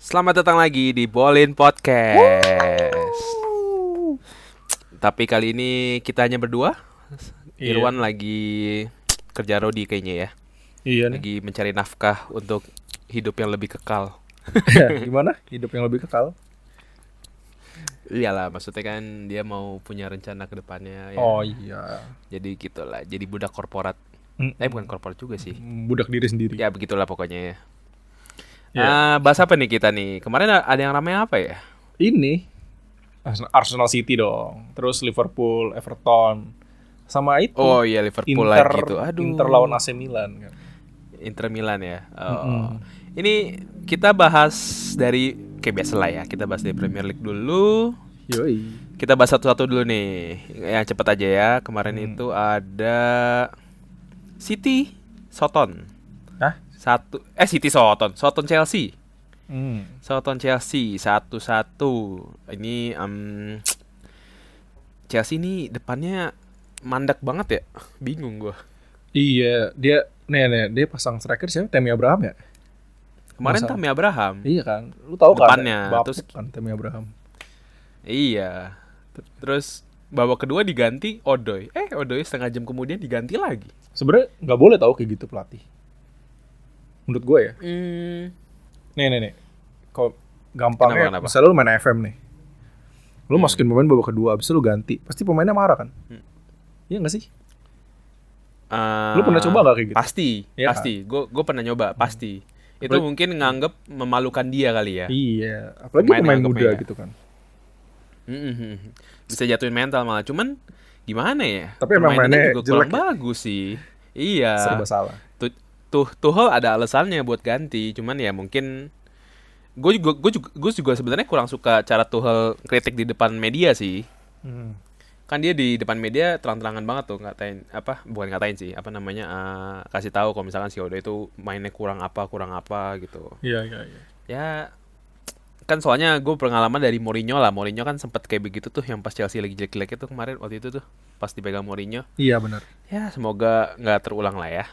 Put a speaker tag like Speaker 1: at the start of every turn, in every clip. Speaker 1: Selamat datang lagi di Bolin Podcast. Tapi kali ini kita hanya berdua.
Speaker 2: Iya.
Speaker 1: Irwan lagi kerja rodi kayaknya ya.
Speaker 2: Iya nih.
Speaker 1: Lagi mencari nafkah untuk hidup yang lebih kekal. Iya.
Speaker 2: Gimana? Hidup yang lebih kekal?
Speaker 1: Iyalah, maksudnya kan dia mau punya rencana ke depannya ya.
Speaker 2: Oh iya.
Speaker 1: Jadi gitulah, jadi budak korporat.
Speaker 2: Mm.
Speaker 1: Eh bukan korporat juga sih.
Speaker 2: Budak diri sendiri.
Speaker 1: Ya begitulah pokoknya ya.
Speaker 2: Iya.
Speaker 1: Ah, bahas apa nih kita nih? Kemarin ada yang ramai apa ya?
Speaker 2: Ini Ars- Arsenal City dong. Terus Liverpool, Everton. Sama itu.
Speaker 1: Oh iya Liverpool
Speaker 2: Inter,
Speaker 1: lagi tuh. Aduh.
Speaker 2: Inter lawan AC Milan kan.
Speaker 1: Inter Milan ya. Oh. Ini kita bahas dari kayak biasa lah ya. Kita bahas dari Premier League dulu.
Speaker 2: Yoi.
Speaker 1: Kita bahas satu-satu dulu nih. Yang cepat aja ya. Kemarin itu ada City Soton.
Speaker 2: Hah?
Speaker 1: Satu eh City Soton, Soton Chelsea.
Speaker 2: Hmm.
Speaker 1: Soton Chelsea satu-satu. Ini em, Chelsea ini depannya mandek banget ya. Bingung gua.
Speaker 2: Iya, dia nih nih dia pasang striker siapa? Temi Abraham ya?
Speaker 1: Kemarin
Speaker 2: Masalah.
Speaker 1: Tammy Abraham.
Speaker 2: Iya kan. Lu tahu kan?
Speaker 1: Depannya,
Speaker 2: Bapuk
Speaker 1: terus-
Speaker 2: kan Temi Abraham.
Speaker 1: Iya. Ter- Terus babak kedua diganti Odoi. Eh, Odoi setengah jam kemudian diganti lagi.
Speaker 2: Sebenarnya nggak boleh tahu kayak gitu pelatih. Menurut gue ya. Nih nih nih. Kalau gampangnya
Speaker 1: Kenapa, kenapa?
Speaker 2: misalnya lu main FM nih. Lu masukin pemain babak kedua abis itu lu ganti. Pasti pemainnya marah kan?
Speaker 1: Hmm.
Speaker 2: Iya nggak sih?
Speaker 1: Eh,
Speaker 2: Lu pernah coba nggak kayak gitu?
Speaker 1: Pasti,
Speaker 2: Iya kan?
Speaker 1: pasti. Gue gue pernah nyoba, pasti. Itu
Speaker 2: Apalagi-
Speaker 1: mungkin nganggep memalukan dia kali ya.
Speaker 2: Iya, apalagi
Speaker 1: Pemain
Speaker 2: pemain
Speaker 1: anggapnya
Speaker 2: muda
Speaker 1: ya.
Speaker 2: gitu kan.
Speaker 1: Mm-mm. Hmm, Bisa jatuhin mental malah. Cuman gimana ya?
Speaker 2: Tapi emang
Speaker 1: Permainannya
Speaker 2: mainnya
Speaker 1: juga kurang
Speaker 2: jelek ya?
Speaker 1: bagus sih. Iya.
Speaker 2: Serba salah.
Speaker 1: tuh tuh Tuchel ada alasannya buat ganti cuman ya mungkin gue juga gue juga gue juga sebenarnya kurang suka cara Tuchel kritik di depan media sih
Speaker 2: Hmm.
Speaker 1: kan dia di depan media terang-terangan banget tuh ngatain apa bukan ngatain sih apa namanya eh, kasih tahu kalau misalkan si Odo itu mainnya kurang apa kurang apa gitu
Speaker 2: Iya, iya, iya.
Speaker 1: ya kan soalnya gue pengalaman dari Mourinho lah Mourinho kan sempet kayak begitu tuh yang pas Chelsea lagi jelek-jeleknya tuh kemarin waktu itu tuh pas dipegang Mourinho
Speaker 2: Iya benar.
Speaker 1: ya semoga nggak terulang lah ya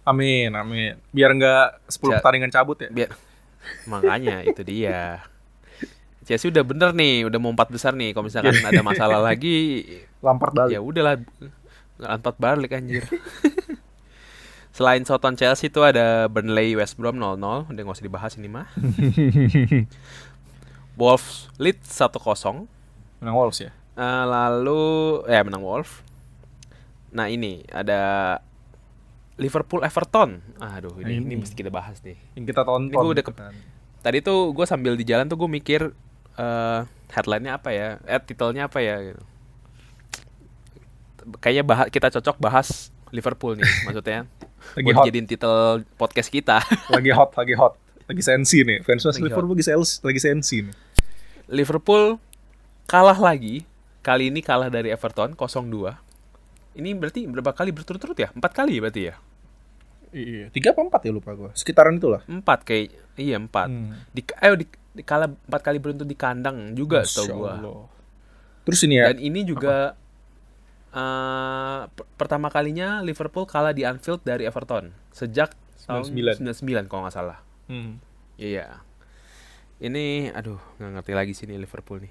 Speaker 2: Amin, amin. Biar nggak 10
Speaker 1: Ja-
Speaker 2: pertandingan cabut ya.
Speaker 1: biar makanya itu dia Chelsea udah bener nih udah mau empat besar nih kalau misalkan ada masalah lagi
Speaker 2: Lampard balik.
Speaker 1: ya udahlah empat balik anjir selain Soton Chelsea itu ada Burnley West Brom 0-0 udah nggak usah dibahas ini mah Iya. Wolves lead 1-0
Speaker 2: Menang Wolves ya.
Speaker 1: Eh, lalu ya menang Wolves nah ini ada Liverpool Everton aduh ini, ini
Speaker 2: Ini.
Speaker 1: mesti kita bahas nih
Speaker 2: Yang kita tonton.
Speaker 1: Ini gua udah ke-
Speaker 2: gitu kan.
Speaker 1: tadi tuh gue sambil di jalan tuh gue mikir eh headline-nya apa ya, eh titelnya apa ya gitu. Kayaknya bahas, kita cocok bahas Liverpool nih maksudnya.
Speaker 2: Lagi
Speaker 1: buat
Speaker 2: hot.
Speaker 1: jadiin titel podcast kita.
Speaker 2: lagi hot, lagi hot. Lagi sensi nih. Fans fans
Speaker 1: Lagi
Speaker 2: Liverpool lagi sales, lagi sensi nih.
Speaker 1: Liverpool kalah lagi. Kali ini kalah dari Everton 0-2. Ini berarti berapa kali berturut-turut ya? Empat kali ya berarti ya?
Speaker 2: Iya. Tiga apa empat ya lupa gue. Sekitaran itulah.
Speaker 1: Empat kayak iya empat.
Speaker 2: Hmm.
Speaker 1: Di, ayo di, di- kalah empat kali beruntun di kandang juga tau
Speaker 2: Masya
Speaker 1: gue.
Speaker 2: Allah. Terus ini ya.
Speaker 1: Dan ini juga eh, per- pertama kalinya Liverpool kalah di Anfield dari Everton sejak tahun
Speaker 2: 99.
Speaker 1: 99 kalau nggak salah.
Speaker 2: Hmm.
Speaker 1: Iya. Ini aduh nggak ngerti lagi sini Liverpool nih.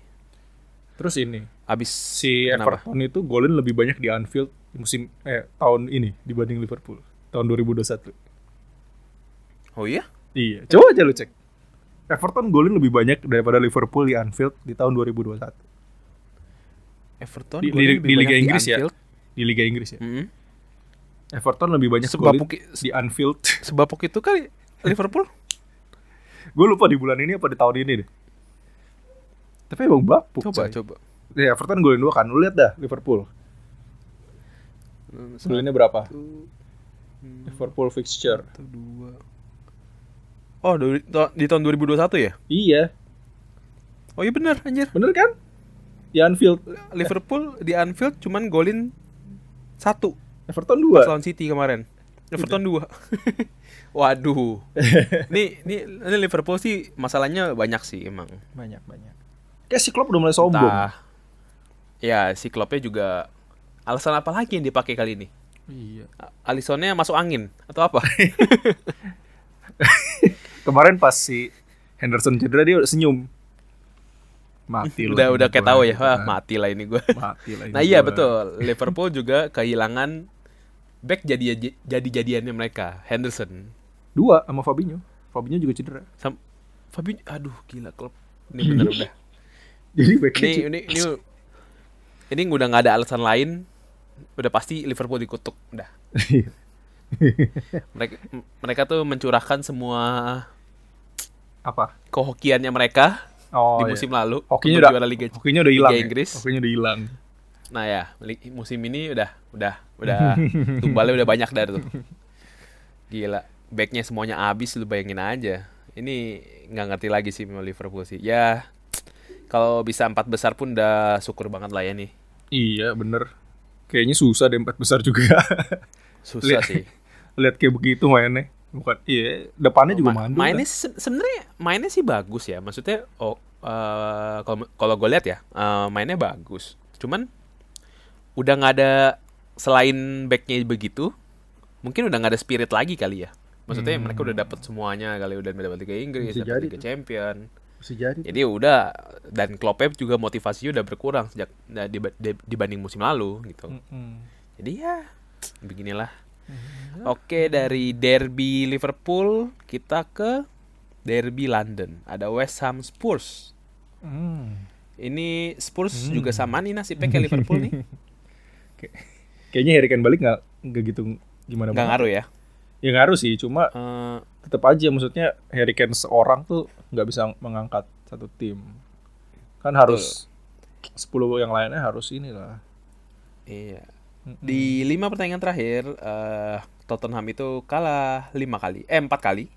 Speaker 2: Terus ini.
Speaker 1: Abis
Speaker 2: si
Speaker 1: kenapa?
Speaker 2: Everton itu golin lebih banyak di Anfield musim eh tahun ini dibanding Liverpool tahun 2021.
Speaker 1: Oh iya?
Speaker 2: Iya, coba aja lu cek. Everton golin lebih banyak daripada Liverpool di Anfield di tahun 2021.
Speaker 1: Everton
Speaker 2: Di,
Speaker 1: golnya
Speaker 2: di-
Speaker 1: lebih
Speaker 2: di Liga
Speaker 1: banyak di
Speaker 2: Inggris ya. Hmm.
Speaker 1: Anfield.
Speaker 2: Di Liga Inggris ya.
Speaker 1: Mm-mm.
Speaker 2: Everton lebih banyak
Speaker 1: Sebab
Speaker 2: golin
Speaker 1: buki-
Speaker 2: di Anfield.
Speaker 1: Sebapok itu kan Liverpool.
Speaker 2: Gue lupa di bulan ini apa di tahun ini deh. Tapi emang bapuk.
Speaker 1: coba
Speaker 2: coy.
Speaker 1: coba.
Speaker 2: Ya, Everton golin dua kan. Lu lihat dah Liverpool. Golinnya berapa?
Speaker 1: Hmm.
Speaker 2: Liverpool fixture.
Speaker 1: Satu, dua. Oh, du- to- di tahun 2021 ya?
Speaker 2: Iya,
Speaker 1: Oh iya benar, anjir.
Speaker 2: bener kan? Di Anfield.
Speaker 1: Liverpool di Anfield cuman golin satu
Speaker 2: Everton
Speaker 1: pas
Speaker 2: dua.
Speaker 1: lawan City kemarin. Everton dua. Waduh. Ini, ini ini Liverpool sih masalahnya banyak sih emang.
Speaker 2: banyak banyak kayak si Klopp udah mulai sombong
Speaker 1: Entah- Ya, si Kloppnya juga Alasan apa lagi yang dipakai kali ini?
Speaker 3: Iya.
Speaker 1: Alisonnya masuk angin atau apa?
Speaker 2: Kemarin pas si Henderson cedera dia senyum. Mati lu.
Speaker 1: udah udah kayak
Speaker 2: Gua-
Speaker 1: tahu ya, wah
Speaker 2: Nah,
Speaker 1: mati lah ini gue.
Speaker 2: Mati lah. ini
Speaker 1: Nah iya
Speaker 2: gua.
Speaker 1: betul, Liverpool juga kehilangan back jadi jadi jadiannya mereka Henderson.
Speaker 2: Dua sama Fabinho. Fabinho juga cedera.
Speaker 1: Sam Fabinho, aduh gila klub ini bener udah.
Speaker 2: Jadi backnya
Speaker 1: Ini ini ini ini udah nggak ada alasan lain, udah pasti Liverpool dikutuk udah.
Speaker 2: Iya.
Speaker 1: Mereka mereka tuh mencurahkan semua
Speaker 2: apa?
Speaker 1: kehokiannya mereka
Speaker 2: Oh,
Speaker 1: di musim lalu
Speaker 2: Hokinya
Speaker 1: untuk
Speaker 2: udah,
Speaker 1: juara Liga.
Speaker 2: hokinya udah hilang.
Speaker 1: Liga
Speaker 2: ya?
Speaker 1: Inggris.
Speaker 2: Hokinya udah hilang.
Speaker 1: Nah ya, li- musim ini udah udah udah tumbalnya udah banyak dari tuh. Gila, backnya semuanya habis lu bayangin aja. Ini nggak ngerti lagi sih sama Liverpool sih. Ya kalau bisa empat besar pun udah syukur banget lah ya nih.
Speaker 2: Iya, bener. Kayaknya susah deh empat besar juga.
Speaker 1: Susah
Speaker 2: Lihat-
Speaker 1: sih.
Speaker 2: Lihat kayak begitu mainnya. Bukan, iya, depannya juga
Speaker 1: Ma-
Speaker 2: mandul.
Speaker 1: mainnya se- sebenarnya mainnya sih bagus ya. Maksudnya oh eh, kalau kalau gue lihat ya eh, mainnya bagus. Cuman udah nggak ada selain backnya begitu, mungkin udah nggak ada spirit lagi kali ya. Maksudnya mereka udah dapat semuanya kali udah dapat Liga Inggris,
Speaker 2: Hmm. Bisa
Speaker 1: dapat
Speaker 2: jadi
Speaker 1: Liga Champion.
Speaker 2: Bisa jadi.
Speaker 1: Jadi ya udah dan Klopp juga motivasinya udah berkurang sejak nah, diba- dib- dibanding musim lalu gitu. Jadi ya beginilah. Oke dari derby Liverpool kita ke derby London. Ada West Ham Spurs. Ini Spurs juga sama nih nasibnya kayak Liverpool nih.
Speaker 2: Kayaknya Harry Kane balik nggak nggak gitu gimana?
Speaker 1: Gak
Speaker 2: banget.
Speaker 1: ngaruh ya.
Speaker 2: Ya ngaruh sih, cuma
Speaker 1: Eh,
Speaker 2: tetap aja maksudnya Harry Kane seorang tuh nggak bisa mengangkat satu tim. Kan harus 10 yang lainnya harus inilah.
Speaker 1: iya. Di lima pertandingan terakhir eh, Tottenham itu kalah lima kali, eh empat kali,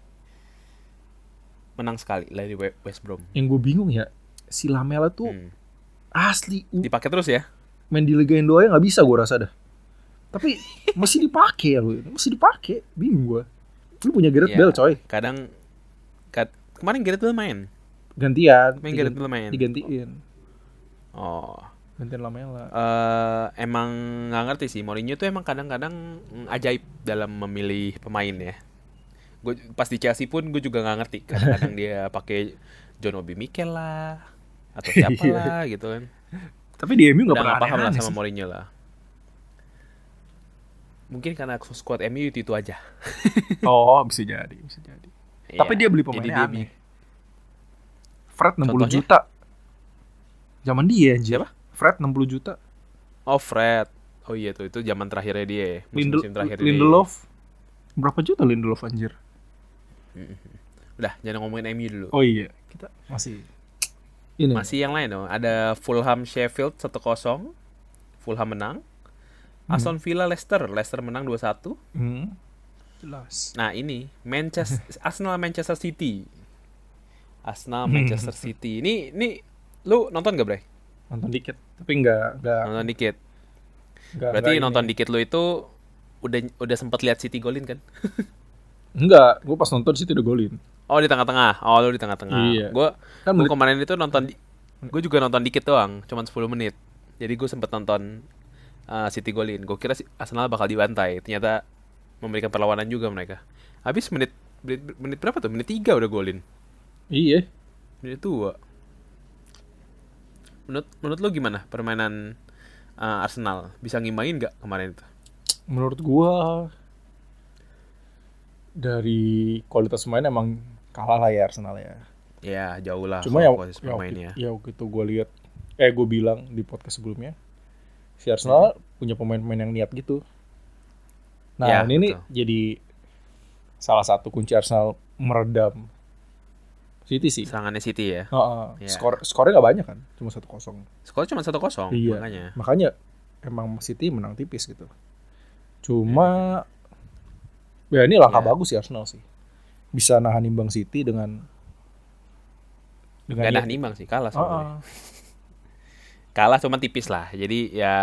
Speaker 1: menang sekali dari We- West Brom.
Speaker 2: Yang gue bingung ya, si Lamela tuh
Speaker 1: Hmm.
Speaker 2: asli u-
Speaker 1: Dipakai terus ya?
Speaker 2: main di Liga Indo aja nggak bisa gue rasa dah. Tapi masih dipakai ya lu, masih dipakai. Bingung gue. Lu punya Gareth
Speaker 1: Iya.
Speaker 2: Bale coy,
Speaker 1: Kadang kad- kemarin Gareth Bale main,
Speaker 2: gantian.
Speaker 1: main
Speaker 2: digan-
Speaker 1: Gareth Bale main.
Speaker 2: digantiin.
Speaker 1: Oh,
Speaker 2: Gantian Lamela.
Speaker 1: eh emang nggak ngerti sih Mourinho tuh emang kadang-kadang mm, ajaib dalam memilih pemain ya. Gue pas di Chelsea pun gue juga nggak ngerti. Kadang-kadang dia pakai John Obi Mikel lah atau siapa
Speaker 2: Iya.
Speaker 1: lah gitu kan.
Speaker 2: Tapi di
Speaker 1: Udah
Speaker 2: MU nggak pernah
Speaker 1: nggak paham lah
Speaker 2: aneh-aneh
Speaker 1: sama
Speaker 2: sih.
Speaker 1: Mourinho lah. Mungkin karena squad MU itu, itu aja.
Speaker 2: Oh, bisa jadi, bisa jadi. Tapi
Speaker 1: Iya,
Speaker 2: dia beli
Speaker 1: jadi
Speaker 2: pemainnya
Speaker 1: dia
Speaker 2: aneh.
Speaker 1: bi-
Speaker 2: Fred 60
Speaker 1: Contohnya?
Speaker 2: juta. Zaman dia anjir.
Speaker 1: Siapa?
Speaker 2: Fred 60 juta.
Speaker 1: Oh Fred. Oh iya tuh itu zaman terakhirnya dia. ya.
Speaker 2: Lindel
Speaker 1: Musim-musim terakhir dia.
Speaker 2: Lindelof. Berapa juta Lindelof anjir?
Speaker 1: Udah jangan ngomongin MU dulu.
Speaker 2: Oh iya, kita masih ini.
Speaker 1: Masih yang lain dong. Ada Fulham Sheffield 1-0. Fulham menang. Aston Villa Leicester, Leicester menang 2-1.
Speaker 2: Hmm. Jelas.
Speaker 1: Nah, ini Manchester Arsenal Manchester City. Arsenal Manchester City. Ini ini lu nonton gak, Bray?
Speaker 2: Nonton dikit, tapi enggak enggak
Speaker 1: Nonton dikit.
Speaker 2: enggak
Speaker 1: Berarti
Speaker 2: iya.
Speaker 1: nonton dikit lu itu udah udah sempat lihat City golin kan?
Speaker 2: Enggak, gua pas nonton situ udah golin.
Speaker 1: Oh, di tengah-tengah. Oh, lu di tengah-tengah.
Speaker 2: Iya.
Speaker 1: Gua gua
Speaker 2: Kan menit-
Speaker 1: kemarin itu nonton gue juga nonton dikit doang, cuman 10 menit. Jadi gue sempet nonton uh, City golin. Gue kira si- Arsenal bakal dibantai, ternyata memberikan perlawanan juga mereka. Habis menit menit, menit berapa tuh? Menit 3 udah golin.
Speaker 2: Iya.
Speaker 1: Menit 2. Menurut menurut lo gimana permainan uh, Arsenal? Bisa ngimbangin nggak kemarin itu?
Speaker 2: Menurut gua dari kualitas main emang kalah lah ya Arsenal ya.
Speaker 1: Ya, jauh lah
Speaker 2: Cuma ya,
Speaker 1: kalau proses
Speaker 2: ya,
Speaker 1: permainnya.
Speaker 2: waktu, ya waktu itu gue lihat, eh gue bilang di podcast sebelumnya, si Arsenal punya pemain-pemain yang niat gitu. Nah
Speaker 1: Hmm. Ya,
Speaker 2: ini nih
Speaker 1: betul.
Speaker 2: jadi salah satu kunci Arsenal meredam City sih.
Speaker 1: Serangannya City ya.
Speaker 2: Heeh.
Speaker 1: Ya.
Speaker 2: Skor skornya nggak banyak kan, cuma satu kosong.
Speaker 1: Skor cuma 1-0
Speaker 2: Iya.
Speaker 1: makanya.
Speaker 2: Makanya emang City menang tipis gitu. Cuma ya ini langkah
Speaker 1: Ya.
Speaker 2: bagus sih Arsenal sih. Bisa nahan imbang City dengan
Speaker 1: Gak
Speaker 2: dengan Ah,
Speaker 1: nahan imbang sih, kalah
Speaker 2: Heeh.
Speaker 1: soalnya. kalah cuma tipis lah jadi ya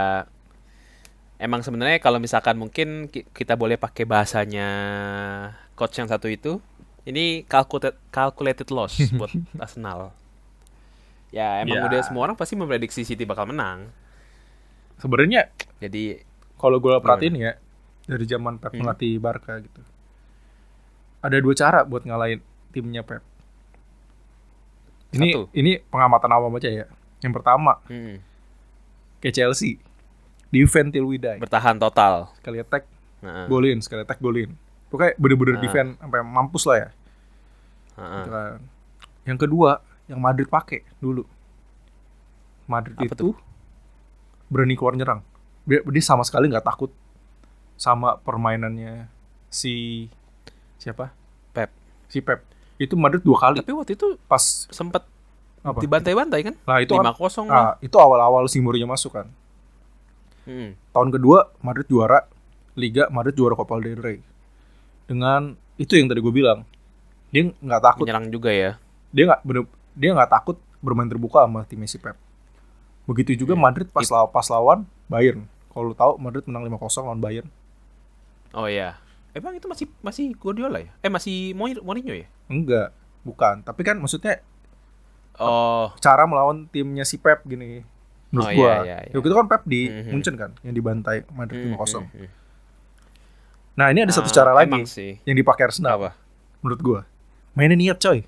Speaker 1: emang sebenarnya kalau misalkan mungkin ki- kita boleh pakai bahasanya coach yang satu itu ini calculated calculated loss buat Arsenal ya emang
Speaker 2: Ya.
Speaker 1: udah semua orang pasti memprediksi City bakal menang
Speaker 2: sebenarnya
Speaker 1: jadi
Speaker 2: Kalau gue perhatiin ya dari
Speaker 1: Hmm.
Speaker 2: zaman Pep melatih Barca gitu. Ada dua cara buat ngalahin timnya Pep. Ini
Speaker 1: Satu.
Speaker 2: ini pengamatan awam aja ya. Yang pertama
Speaker 1: Mm-mm.
Speaker 2: kayak Chelsea. Defend till we die.
Speaker 1: Bertahan total. Nah.
Speaker 2: Sekali attack
Speaker 1: Heeh.
Speaker 2: golin, sekali attack golin. Pokoknya bener-bener
Speaker 1: Ah.
Speaker 2: defend sampai mampus lah ya.
Speaker 1: Heeh.
Speaker 2: Gitu kan. Yang kedua, yang Madrid pakai dulu. Madrid
Speaker 1: Apa
Speaker 2: itu berani keluar nyerang. Dia, dia sama sekali nggak takut sama permainannya si siapa?
Speaker 1: Pep.
Speaker 2: Si Pep. Itu Madrid dua kali
Speaker 1: Tapi waktu itu
Speaker 2: pas
Speaker 1: sempat
Speaker 2: apa?
Speaker 1: dibantai-bantai kan?
Speaker 2: Nah, itu kan,
Speaker 1: 5-0 lah.
Speaker 2: nah, itu awal-awal si Mourinho masuk kan.
Speaker 1: Mm-mm.
Speaker 2: Tahun kedua Madrid juara Liga, Madrid juara Copa del Rey. Dengan itu yang tadi gue bilang. Dia nggak takut
Speaker 1: Menyerang juga ya.
Speaker 2: dia nggak bener- dia nggak takut bermain terbuka sama tim si Pep. Begitu
Speaker 1: Iya.
Speaker 2: juga Madrid pas lawan pas lawan Bayern. Kalau lu tahu Madrid menang 5-0 lawan Bayern.
Speaker 1: Oh iya. Emang itu masih masih Guardiola ya? Eh masih Moir- Mourinho ya?
Speaker 2: Enggak, bukan. Tapi kan maksudnya
Speaker 1: Oh,
Speaker 2: cara melawan timnya si Pep gini. Menurut
Speaker 1: Oh, iya,
Speaker 2: gua.
Speaker 1: iya, iya.
Speaker 2: Ya gitu kan Pep di
Speaker 1: Mhm.
Speaker 2: Munchen kan yang dibantai Madrid
Speaker 1: Hmm,
Speaker 2: 5-0.
Speaker 1: Mm-mm.
Speaker 2: Nah, ini ada satu
Speaker 1: Ah,
Speaker 2: cara lagi
Speaker 1: emang sih.
Speaker 2: yang dipakai Arsenal
Speaker 1: Apa?
Speaker 2: menurut gua. Mainnya niat, coy.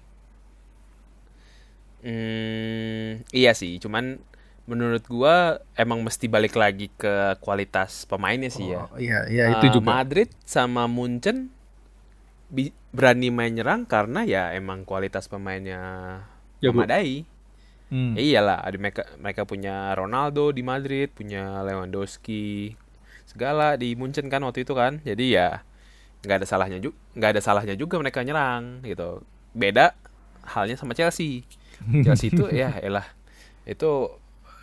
Speaker 1: Hmm, iya sih, cuman menurut gua emang mesti balik lagi ke kualitas pemainnya sih ya.
Speaker 2: Oh, iya, iya
Speaker 1: Eh,
Speaker 2: itu juga.
Speaker 1: Madrid sama Munchen bi- berani main nyerang karena ya emang kualitas pemainnya
Speaker 2: Jago.
Speaker 1: memadai.
Speaker 2: Hmm.
Speaker 1: Ya iyalah, ada mereka mereka punya Ronaldo di Madrid, punya Lewandowski, segala di Munchen kan waktu itu kan. Jadi ya nggak ada salahnya juga, nggak ada salahnya juga mereka nyerang gitu. Beda halnya sama Chelsea. Chelsea itu ya elah itu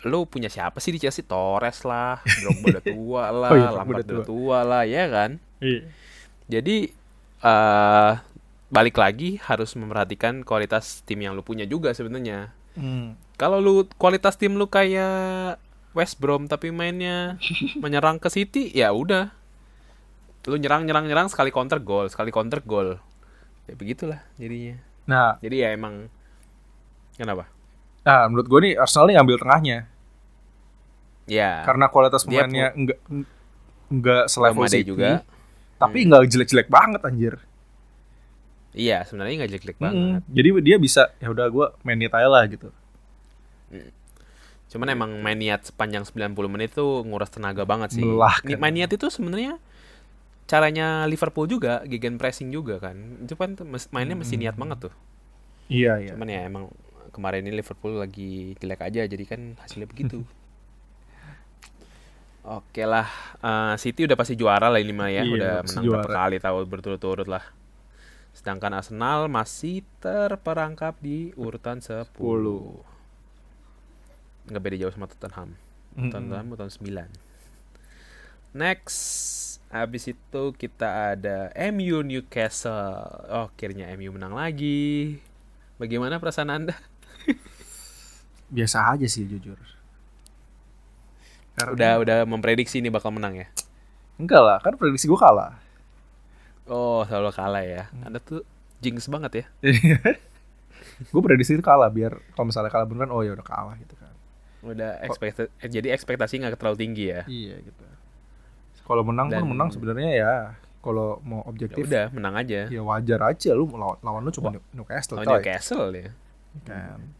Speaker 1: lu punya siapa sih di Chelsea? Torres lah, Drogba udah tua lah,
Speaker 2: Oh iya, Drogba
Speaker 1: Lampard
Speaker 2: udah
Speaker 1: udah tua lah, ya kan?
Speaker 2: Iya.
Speaker 1: Jadi eh balik lagi harus memperhatikan kualitas tim yang lu punya juga sebenarnya.
Speaker 2: Hmm.
Speaker 1: Kalau lu kualitas tim lu kayak West Brom tapi mainnya menyerang ke City, ya udah. Lu nyerang nyerang nyerang sekali counter gol, sekali counter gol. Ya begitulah jadinya.
Speaker 2: Nah,
Speaker 1: Jadi ya emang kenapa?
Speaker 2: nah menurut gua nih Arsenal nih ngambil tengahnya.
Speaker 1: Ya.
Speaker 2: karena kualitas
Speaker 1: Dia
Speaker 2: pemainnya enggak enggak selevel
Speaker 1: memadai
Speaker 2: City
Speaker 1: juga.
Speaker 2: tapi enggak jelek-jelek banget anjir
Speaker 1: Iya, sebenarnya nggak jelek-jelek
Speaker 2: Mm-mm.
Speaker 1: banget.
Speaker 2: jadi dia bisa ya udah gue main niat aja lah gitu
Speaker 1: Cuman emang main niat sepanjang 90 menit tuh nguras tenaga banget sih.
Speaker 2: Melelahkan.
Speaker 1: Ni- Main niat itu sebenarnya caranya Liverpool juga, gegen pressing juga kan. Itu kan mes- mainnya mesti niat banget tuh.
Speaker 2: iya iya
Speaker 1: Cuman ya emang kemarin ini Liverpool lagi jelek aja jadi kan hasilnya begitu. Oke lah, eh, City udah pasti juara lah ini mah ya,
Speaker 2: Iya,
Speaker 1: udah
Speaker 2: udah pasti
Speaker 1: menang berapa
Speaker 2: juara.
Speaker 1: kali tahun berturut-turut lah. Sedangkan Arsenal masih terperangkap di urutan 10.
Speaker 2: 10.
Speaker 1: Nggak beda jauh sama Tottenham.
Speaker 2: Mm-mm.
Speaker 1: Tottenham urutan 9. Next, habis itu kita ada MU Newcastle. Oh, akhirnya MU menang lagi. Bagaimana perasaan Anda?
Speaker 2: biasa aja sih jujur karena
Speaker 1: Udah udah memprediksi ini bakal menang ya.
Speaker 2: enggak lah kan prediksi gue kalah
Speaker 1: Oh, selalu kalah ya. Anda tuh jinx banget ya.
Speaker 2: gue prediksi kalah biar kalau misalnya kalah beneran oh ya udah kalah gitu kan
Speaker 1: Udah ekspektasi jadi ekspektasi nggak terlalu tinggi ya.
Speaker 2: iya gitu kalau menang
Speaker 1: Dan-
Speaker 2: pun menang sebenarnya ya kalau mau
Speaker 1: Ya
Speaker 2: objektif
Speaker 1: udah, menang aja.
Speaker 2: ya wajar aja lu lawan lawan lu cuma Newcastle
Speaker 1: Lawan
Speaker 2: coy.
Speaker 1: Newcastle ya.
Speaker 2: Kan.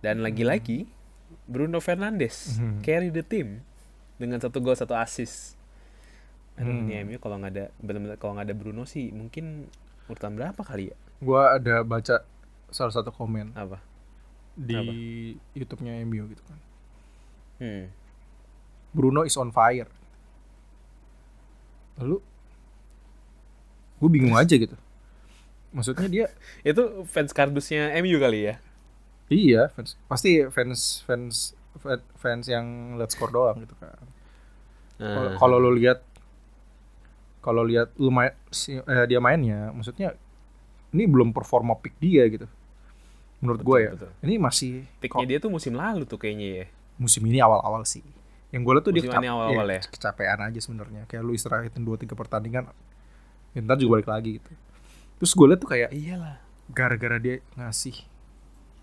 Speaker 1: Dan lagi-lagi Bruno Fernandes
Speaker 2: Mhm.
Speaker 1: carry the team dengan satu gol satu assist. Aduh, ini MU kalau nggak ada benar-benar kalau nggak ada Bruno sih mungkin urutan berapa kali ya?
Speaker 2: gue ada baca salah satu komen
Speaker 1: Apa?
Speaker 2: di
Speaker 1: Apa?
Speaker 2: YouTube-nya MU gitu kan.
Speaker 1: Hmm.
Speaker 2: Bruno is on fire. Lalu gue bingung aja gitu. Maksudnya dia
Speaker 1: Itu fans kardusnya MU kali ya?
Speaker 2: iya fans pasti fans fans fan- fans yang let's score doang gitu kan.
Speaker 1: Ah. Eh.
Speaker 2: Kalau- Kalau lo lihat kalau lihat lu main si- eh, dia mainnya, maksudnya ini belum performa peak dia gitu. Menurut gue ya,
Speaker 1: betul.
Speaker 2: ini masih
Speaker 1: Picknya dia tuh musim lalu tuh kayaknya ya.
Speaker 2: musim ini awal-awal sih. Yang gue liat tuh dia
Speaker 1: Musim ini
Speaker 2: kecap- iya,
Speaker 1: awal-awal ya?
Speaker 2: kecapean aja sebenarnya. Kayak lu istirahatin 2-3 pertandingan, ya ntar juga balik lagi gitu. Terus gue liat tuh kayak
Speaker 1: Iyalah.
Speaker 2: gara-gara dia ngasih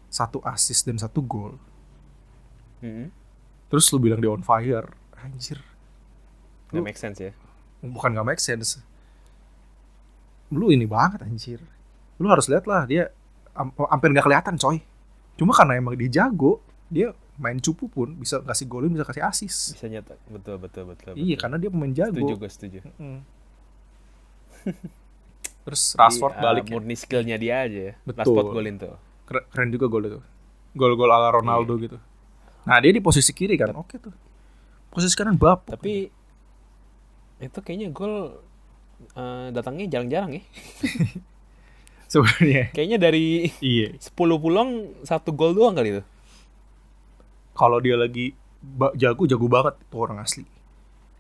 Speaker 2: satu assist dan satu gol.
Speaker 1: Mm-mm.
Speaker 2: Terus lu bilang dia on fire. Anjir.
Speaker 1: Nggak make sense ya.
Speaker 2: bukan gak make sense lu ini banget anjir lu harus lihat lah dia am- hampir nggak kelihatan coy cuma karena emang dia jago dia main cupu pun bisa kasih golin bisa kasih asis
Speaker 1: Bisa nyata. Betul, betul, betul. betul.
Speaker 2: iya karena dia pemain jago
Speaker 1: Setuju, gue setuju.
Speaker 2: Mm. terus Rashford
Speaker 1: Jadi, ah,
Speaker 2: balik ya.
Speaker 1: murni skillnya dia aja ya.
Speaker 2: Betul.
Speaker 1: Rashford golin tuh.
Speaker 2: Keren, keren juga gol itu gol-gol ala Ronaldo
Speaker 1: Iya.
Speaker 2: gitu nah dia di posisi kiri kan oke tuh posisi kanan bapuk
Speaker 1: Tapi itu kayaknya gol eh, datangnya jarang-jarang ya.
Speaker 2: sebenarnya
Speaker 1: Kayaknya dari
Speaker 2: iya
Speaker 1: 10 pulang satu gol doang kali itu.
Speaker 2: kalau dia lagi ba- jago jago banget tuh orang asli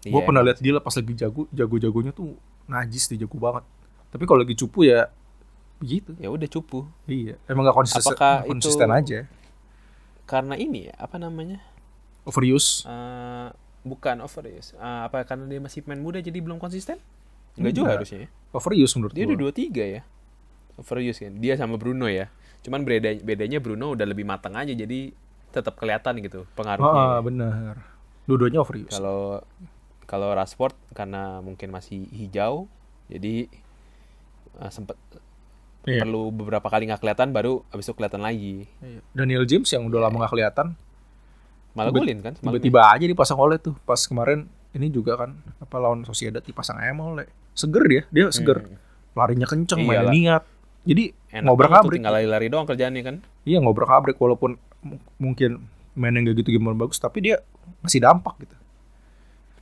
Speaker 2: gue
Speaker 1: Iya,
Speaker 2: pernah lihat dia pas lagi jago jago jagonya tuh najis dia jago banget tapi kalau lagi cupu ya begitu
Speaker 1: Ya udah cupu.
Speaker 2: iya emang gak konsisten
Speaker 1: Apakah
Speaker 2: nggak konsisten
Speaker 1: itu-
Speaker 2: aja
Speaker 1: Karena ini ya, apa namanya?
Speaker 2: overuse
Speaker 1: Eh, bukan overuse. Eh, apa karena dia masih pemain muda jadi belum konsisten? Enggak
Speaker 2: Enggak.
Speaker 1: juga harusnya. ya.
Speaker 2: overuse menurut
Speaker 1: Dia udah
Speaker 2: gue
Speaker 1: 23 ya. Overuse kan. Dia sama Bruno ya. Cuman beda bedanya Bruno udah lebih matang aja jadi tetap kelihatan gitu
Speaker 2: ah
Speaker 1: pengaruhnya.
Speaker 2: benar dua-duanya overuse
Speaker 1: Kalau kalau Rashford karena mungkin masih hijau jadi eh, sempet
Speaker 2: Iya.
Speaker 1: perlu beberapa kali nggak kelihatan baru abis itu kelihatan lagi.
Speaker 2: Iya. Daniel James yang udah lama gak kelihatan
Speaker 1: Malah
Speaker 2: Tiba-
Speaker 1: golin kan semalam ya.
Speaker 2: tiba-tiba aja dipasang oleh tuh pas kemarin ini juga kan apa lawan Sociedad dipasang ayam oleh seger dia dia seger larinya kenceng
Speaker 1: Iyalah.
Speaker 2: mainnya niat jadi
Speaker 1: Hmm. Iya Enak
Speaker 2: ngobrak
Speaker 1: banget tuh,
Speaker 2: abrik
Speaker 1: tinggal lari-lari doang kerjaannya kan.
Speaker 2: iya ngobrak abrik walaupun m- mungkin mainnya nggak gitu gimana bagus tapi dia ngasih dampak gitu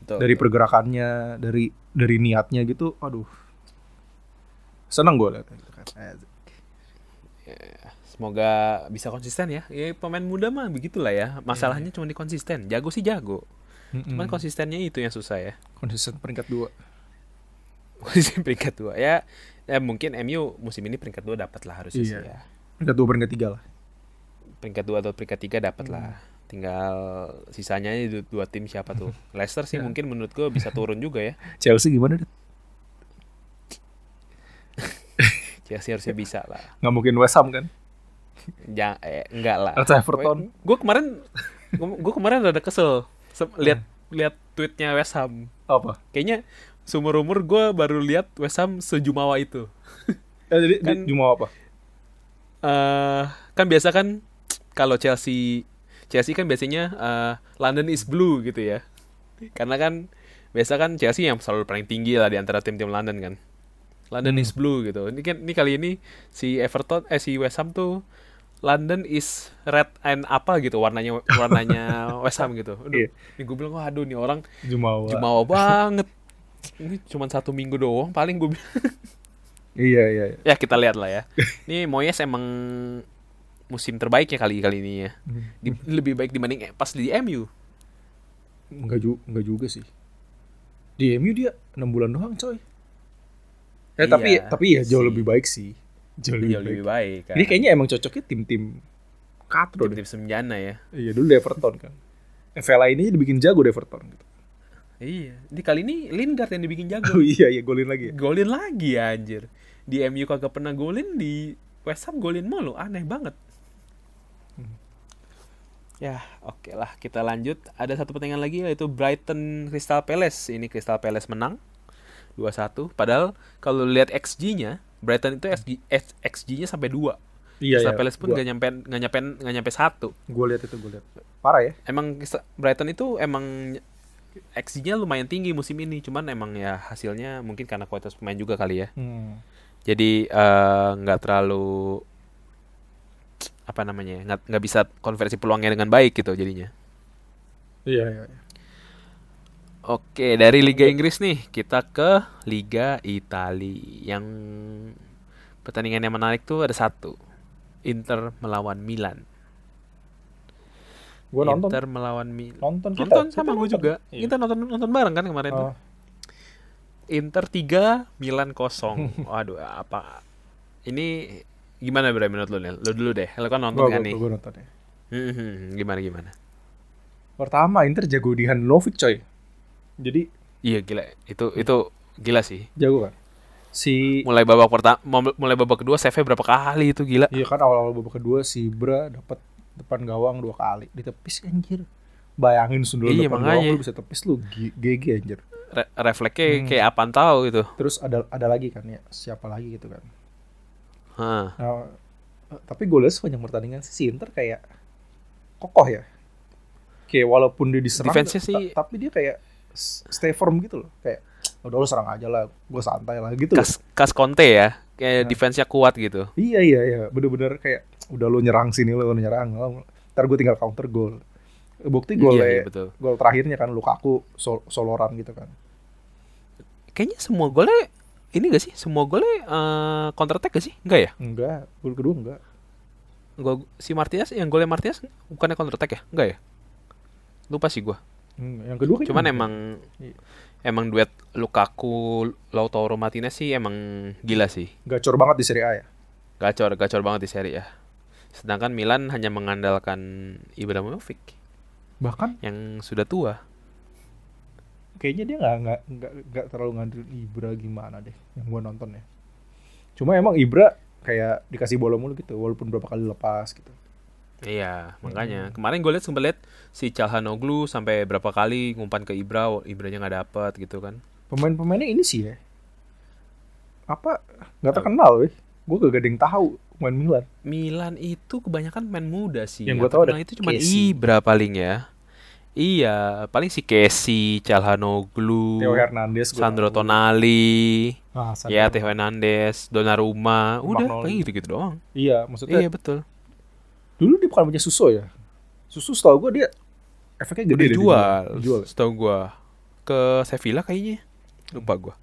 Speaker 1: Betul.
Speaker 2: dari pergerakannya dari dari niatnya gitu aduh seneng gue liat
Speaker 1: Semoga bisa konsisten ya. Ya pemain muda mah begitulah ya. Masalahnya cuma di konsisten. Jago sih jago.
Speaker 2: Hmm.
Speaker 1: Cuman konsistennya itu yang susah ya.
Speaker 2: konsisten peringkat dua
Speaker 1: Konsisten peringkat dua ya. Ya mungkin MU musim ini peringkat dua dapat lah harusnya sih
Speaker 2: Iya.
Speaker 1: ya.
Speaker 2: peringkat dua peringkat tiga lah
Speaker 1: Peringkat dua atau peringkat tiga dapat lah.
Speaker 2: Hmm.
Speaker 1: Tinggal sisanya aja du- dua tim siapa tuh. Leicester
Speaker 2: Iya.
Speaker 1: sih mungkin menurut gue bisa turun juga ya.
Speaker 2: Chelsea gimana Dit?
Speaker 1: Chelsea harusnya bisa lah.
Speaker 2: nggak mungkin West Ham kan
Speaker 1: Ja eh, enggak lah.
Speaker 2: atau Everton
Speaker 1: Gue kemarin gue kemarin rada kesel Sem-
Speaker 2: Iya.
Speaker 1: lihat lihat tweetnya West Ham.
Speaker 2: apa
Speaker 1: Kayaknya seumur umur gue baru lihat West Ham sejumawa itu.
Speaker 2: eh, jadi
Speaker 1: Kan-
Speaker 2: di- Jumawa apa
Speaker 1: eh kan biasa kan kalau Chelsea Chelsea kan biasanya eh, London is blue gitu ya. Karena kan biasa kan Chelsea yang selalu paling tinggi lah di antara tim-tim London kan. London is blue gitu. Ini kan ini kali ini si Everton eh si West Ham tuh London is red and apa gitu warnanya warnanya West Ham gitu. Aduh,
Speaker 2: Iya.
Speaker 1: ini gue bilang wah aduh nih orang
Speaker 2: Jumawa
Speaker 1: jumawa banget. Ini cuma satu minggu doang paling gue
Speaker 2: iya iya
Speaker 1: ya
Speaker 2: iya.
Speaker 1: kita lihat lah ya. Ini Moyes emang musim terbaiknya kali kali ini ya. Di- lebih baik dibanding eh, pas di MU.
Speaker 2: nggak juga nggak juga sih di MU dia enam bulan doang coy eh tapi
Speaker 1: Iya
Speaker 2: tapi ya jauh
Speaker 1: sih.
Speaker 2: lebih baik sih jauh lebih
Speaker 1: Jauh
Speaker 2: baik
Speaker 1: lebih baik kan.
Speaker 2: Ini kayaknya emang cocoknya tim-tim katro deh.
Speaker 1: tim semjana ya.
Speaker 2: Iya dulu di Everton kan. Vela ini dibikin jago di Everton gitu.
Speaker 1: Iya. Di kali ini Lingard yang dibikin jago.
Speaker 2: Oh iya iya golin lagi. ya.
Speaker 1: golin lagi ya anjir. Di MU kagak pernah golin di West Ham golin mulu. Aneh banget. Hmm. Ya, oke lah kita lanjut. Ada satu pertandingan lagi yaitu Brighton Crystal Palace. Ini Crystal Palace menang 2-1. Padahal kalau lihat XG-nya, Brighton itu XG, XG-nya sampai 2.
Speaker 2: Iya
Speaker 1: Crystal Palace pun
Speaker 2: gua,
Speaker 1: nggak nyampe nggak nyampe nggak nyampe satu.
Speaker 2: gua lihat itu gua lihat. Parah ya?
Speaker 1: Emang Crystal- Brighton itu emang XG-nya lumayan tinggi musim ini, cuman emang ya hasilnya mungkin karena kualitas pemain juga kali ya.
Speaker 2: Hmm.
Speaker 1: Jadi eh, nggak terlalu apa namanya nggak nggak bisa konversi peluangnya dengan baik gitu jadinya.
Speaker 2: Iya iya. iya.
Speaker 1: Oke dari Liga Inggris nih kita ke Liga Itali yang pertandingan yang menarik tuh ada satu Inter melawan Milan.
Speaker 2: Gua nonton
Speaker 1: Inter melawan Milan.
Speaker 2: nonton kita.
Speaker 1: nonton
Speaker 2: Kita
Speaker 1: sama gue juga.
Speaker 2: Iya.
Speaker 1: Kita nonton nonton bareng kan kemarin tuh.
Speaker 2: Oh,
Speaker 1: Inter 3, Milan 0. Waduh, apa ini gimana Bray menurut lu Nel? Lu dulu deh. Lu kan nonton
Speaker 2: gua,
Speaker 1: kan
Speaker 2: gua-
Speaker 1: nih.
Speaker 2: gua- gua nonton ya.
Speaker 1: Mhm, gimana gimana?
Speaker 2: Pertama Inter jago di Handanovic coy. Jadi
Speaker 1: Iya gila. Itu itu gila sih.
Speaker 2: jago kan? Si
Speaker 1: Mulai babak pertama mulai babak kedua save berapa kali itu gila.
Speaker 2: Iya kan awal-awal babak kedua si Bra dapat depan gawang dua kali ditepis anjir. Bayangin sundul
Speaker 1: Iya,
Speaker 2: depan
Speaker 1: makanya.
Speaker 2: gawang lu bisa tepis lu G- GG anjir.
Speaker 1: re- refleksnya
Speaker 2: Hmm.
Speaker 1: kayak apaan tahu gitu.
Speaker 2: Terus ada ada lagi kan ya siapa lagi gitu kan.
Speaker 1: Hah.
Speaker 2: Nah, eh, tapi gue lihat sepanjang pertandingan sih si Inter kayak kokoh ya. Kayak walaupun dia diserang,
Speaker 1: Defense-nya
Speaker 2: ta-
Speaker 1: sih-
Speaker 2: tapi dia kayak s- stay firm gitu loh. Kayak udah lo serang aja lah, gue santai lah gitu. loh.
Speaker 1: Kas kas Conte ya, kayak defense-nya kuat gitu.
Speaker 2: Iya iya iya, bener-bener kayak udah lo nyerang sini lo nyerang, lo- ntar gue tinggal counter goal. Bukti gol
Speaker 1: Iya, iya,
Speaker 2: ya,
Speaker 1: betul.
Speaker 2: gol terakhirnya kan Lukaku sol- soloran gitu kan.
Speaker 1: Kayaknya semua golnya ini gak sih? Semua golnya eh, counter attack gak sih? Enggak ya?
Speaker 2: Enggak, gol kedua enggak.
Speaker 1: Gol si Martinez yang golnya Martinez bukannya counter attack ya? Enggak ya? Lupa sih gua.
Speaker 2: Hmm, Yang kedua kayaknya
Speaker 1: Cuman
Speaker 2: enggak.
Speaker 1: emang
Speaker 2: Iya.
Speaker 1: emang duet Lukaku Lautaro Martinez sih emang gila sih.
Speaker 2: gacor banget di Serie A ya.
Speaker 1: Gacor, gacor banget di seri ya. Sedangkan Milan hanya mengandalkan Ibrahimovic
Speaker 2: Bahkan
Speaker 1: yang sudah tua.
Speaker 2: kayaknya dia nggak nggak nggak nggak terlalu ngandelin Ibra gimana deh yang gua nonton ya. Cuma emang Ibra kayak dikasih bola mulu gitu walaupun berapa kali lepas gitu.
Speaker 1: Iya, makanya. Kemarin gue lihat sempat lihat si Calhanoglu sampai berapa kali ngumpan ke Ibra, wa- Ibranya nggak dapet gitu kan.
Speaker 2: Pemain-pemainnya ini sih ya. Apa nggak terkenal weh. Gue gak gading tahu pemain Milan.
Speaker 1: Milan itu kebanyakan pemain muda sih.
Speaker 2: Yang gua tahu
Speaker 1: tau
Speaker 2: ada
Speaker 1: itu cuma
Speaker 2: Casey.
Speaker 1: Ibra paling ya. Iya, paling si Casey, Calhanoglu,
Speaker 2: Theo Hernandez gua
Speaker 1: Sandro
Speaker 2: tahu.
Speaker 1: Tonali,
Speaker 2: Ah, Sandro.
Speaker 1: ya Theo Hernandez, Donnarumma, udah
Speaker 2: Magnoli.
Speaker 1: paling gitu-gitu doang.
Speaker 2: Iya, maksudnya
Speaker 1: Iya, betul.
Speaker 2: dulu dia bukan punya Suso ya. Suso setahu gue dia efeknya gede
Speaker 1: Udah
Speaker 2: deh di
Speaker 1: dijual,
Speaker 2: Milan. Dijual.
Speaker 1: setahu gua ke Sevilla kayaknya. Lupa gua.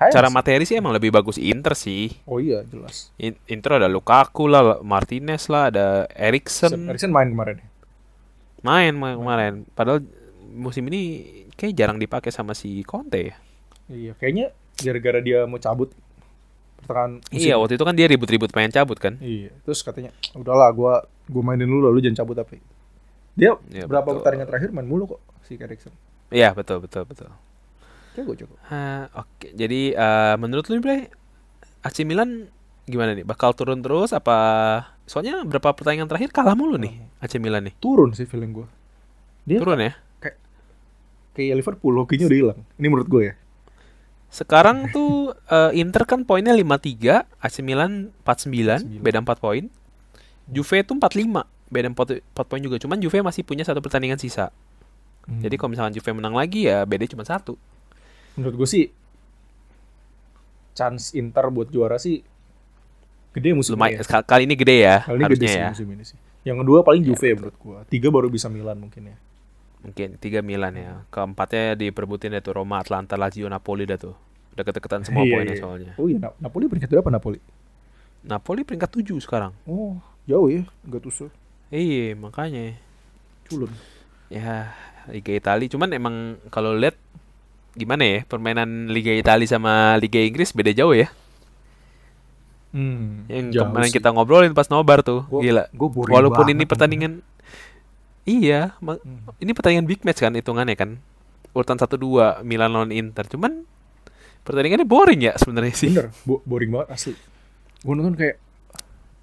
Speaker 2: Sayang
Speaker 1: Cara
Speaker 2: sih.
Speaker 1: materi sih emang lebih bagus Inter sih.
Speaker 2: Oh iya, jelas.
Speaker 1: In- Inter ada Lukaku lah, Martinez lah, ada
Speaker 2: Erikson
Speaker 1: Eriksen.
Speaker 2: Eriksen main kemarin. ya?
Speaker 1: Main ma- kemarin. Padahal musim ini kayak jarang dipakai sama si Conte ya.
Speaker 2: Iya, kayaknya gara-gara dia mau cabut pertengahan musim.
Speaker 1: Iya, waktu itu kan dia ribut-ribut pengen cabut kan.
Speaker 2: Iya. Terus katanya, udahlah, gua gua mainin dulu, lalu jangan cabut apa. Dia
Speaker 1: Iya,
Speaker 2: berapa
Speaker 1: betul.
Speaker 2: pertandingan terakhir main mulu kok si Erikson.
Speaker 1: Iya, betul betul betul.
Speaker 2: Jago jago.
Speaker 1: Ah, oke. Jadi eh, menurut lu nih, Bre, AC Milan gimana nih? Bakal turun terus apa soalnya berapa pertandingan terakhir kalah mulu nih AC Milan nih.
Speaker 2: Turun sih feeling gua. Dia
Speaker 1: Turun ya.
Speaker 2: kayak Liverpool hokinya udah hilang. Ini menurut gue ya.
Speaker 1: Sekarang tuh eh, Inter kan poinnya 53, AC Milan 49,
Speaker 2: 49.
Speaker 1: beda 4 poin. Juve itu 45, beda 4, poin juga. Cuman Juve masih punya satu pertandingan sisa.
Speaker 2: Hmm.
Speaker 1: Hmm. Jadi kalau misalkan Juve menang lagi ya beda cuma satu.
Speaker 2: Hmm. menurut gue sih chance Inter buat juara sih gede musim
Speaker 1: Lumayan
Speaker 2: ini. Ya.
Speaker 1: sekal- kali ini gede ya
Speaker 2: Kali ini gede
Speaker 1: harusnya
Speaker 2: sih
Speaker 1: ya. Iya,
Speaker 2: musim ini sih. Yang kedua paling Juve ya, menurut gua. Tiga baru bisa Milan mungkin ya.
Speaker 1: Mungkin 3 Milan ya. Keempatnya diperbutin dari Roma, Atlanta, Lazio, Napoli dah tuh. Udah keteketan semua
Speaker 2: Iya,
Speaker 1: poinnya
Speaker 2: iya.
Speaker 1: soalnya.
Speaker 2: Oh iya, Na- Napoli peringkat berapa Napoli?
Speaker 1: Napoli peringkat 7 sekarang.
Speaker 2: Oh, jauh ya, Gattuso.
Speaker 1: Iya, makanya.
Speaker 2: Culun.
Speaker 1: Ya, Liga Italia cuman emang kalau lihat gimana ya permainan Liga Italia sama Liga Inggris beda jauh ya.
Speaker 2: Hmm,
Speaker 1: Yang kemarin kita ngobrolin pas nobar tuh,
Speaker 2: Gua-
Speaker 1: gila.
Speaker 2: gua boring
Speaker 1: Walaupun ini
Speaker 2: banget Hmm.
Speaker 1: pertandingan Iya, ma- ini pertandingan big match kan hitungannya kan. Urutan 1-2 Milan lawan Inter. Cuman pertandingannya boring ya sebenarnya sih.
Speaker 2: Bener, bo- boring banget asli. Gue nonton kayak,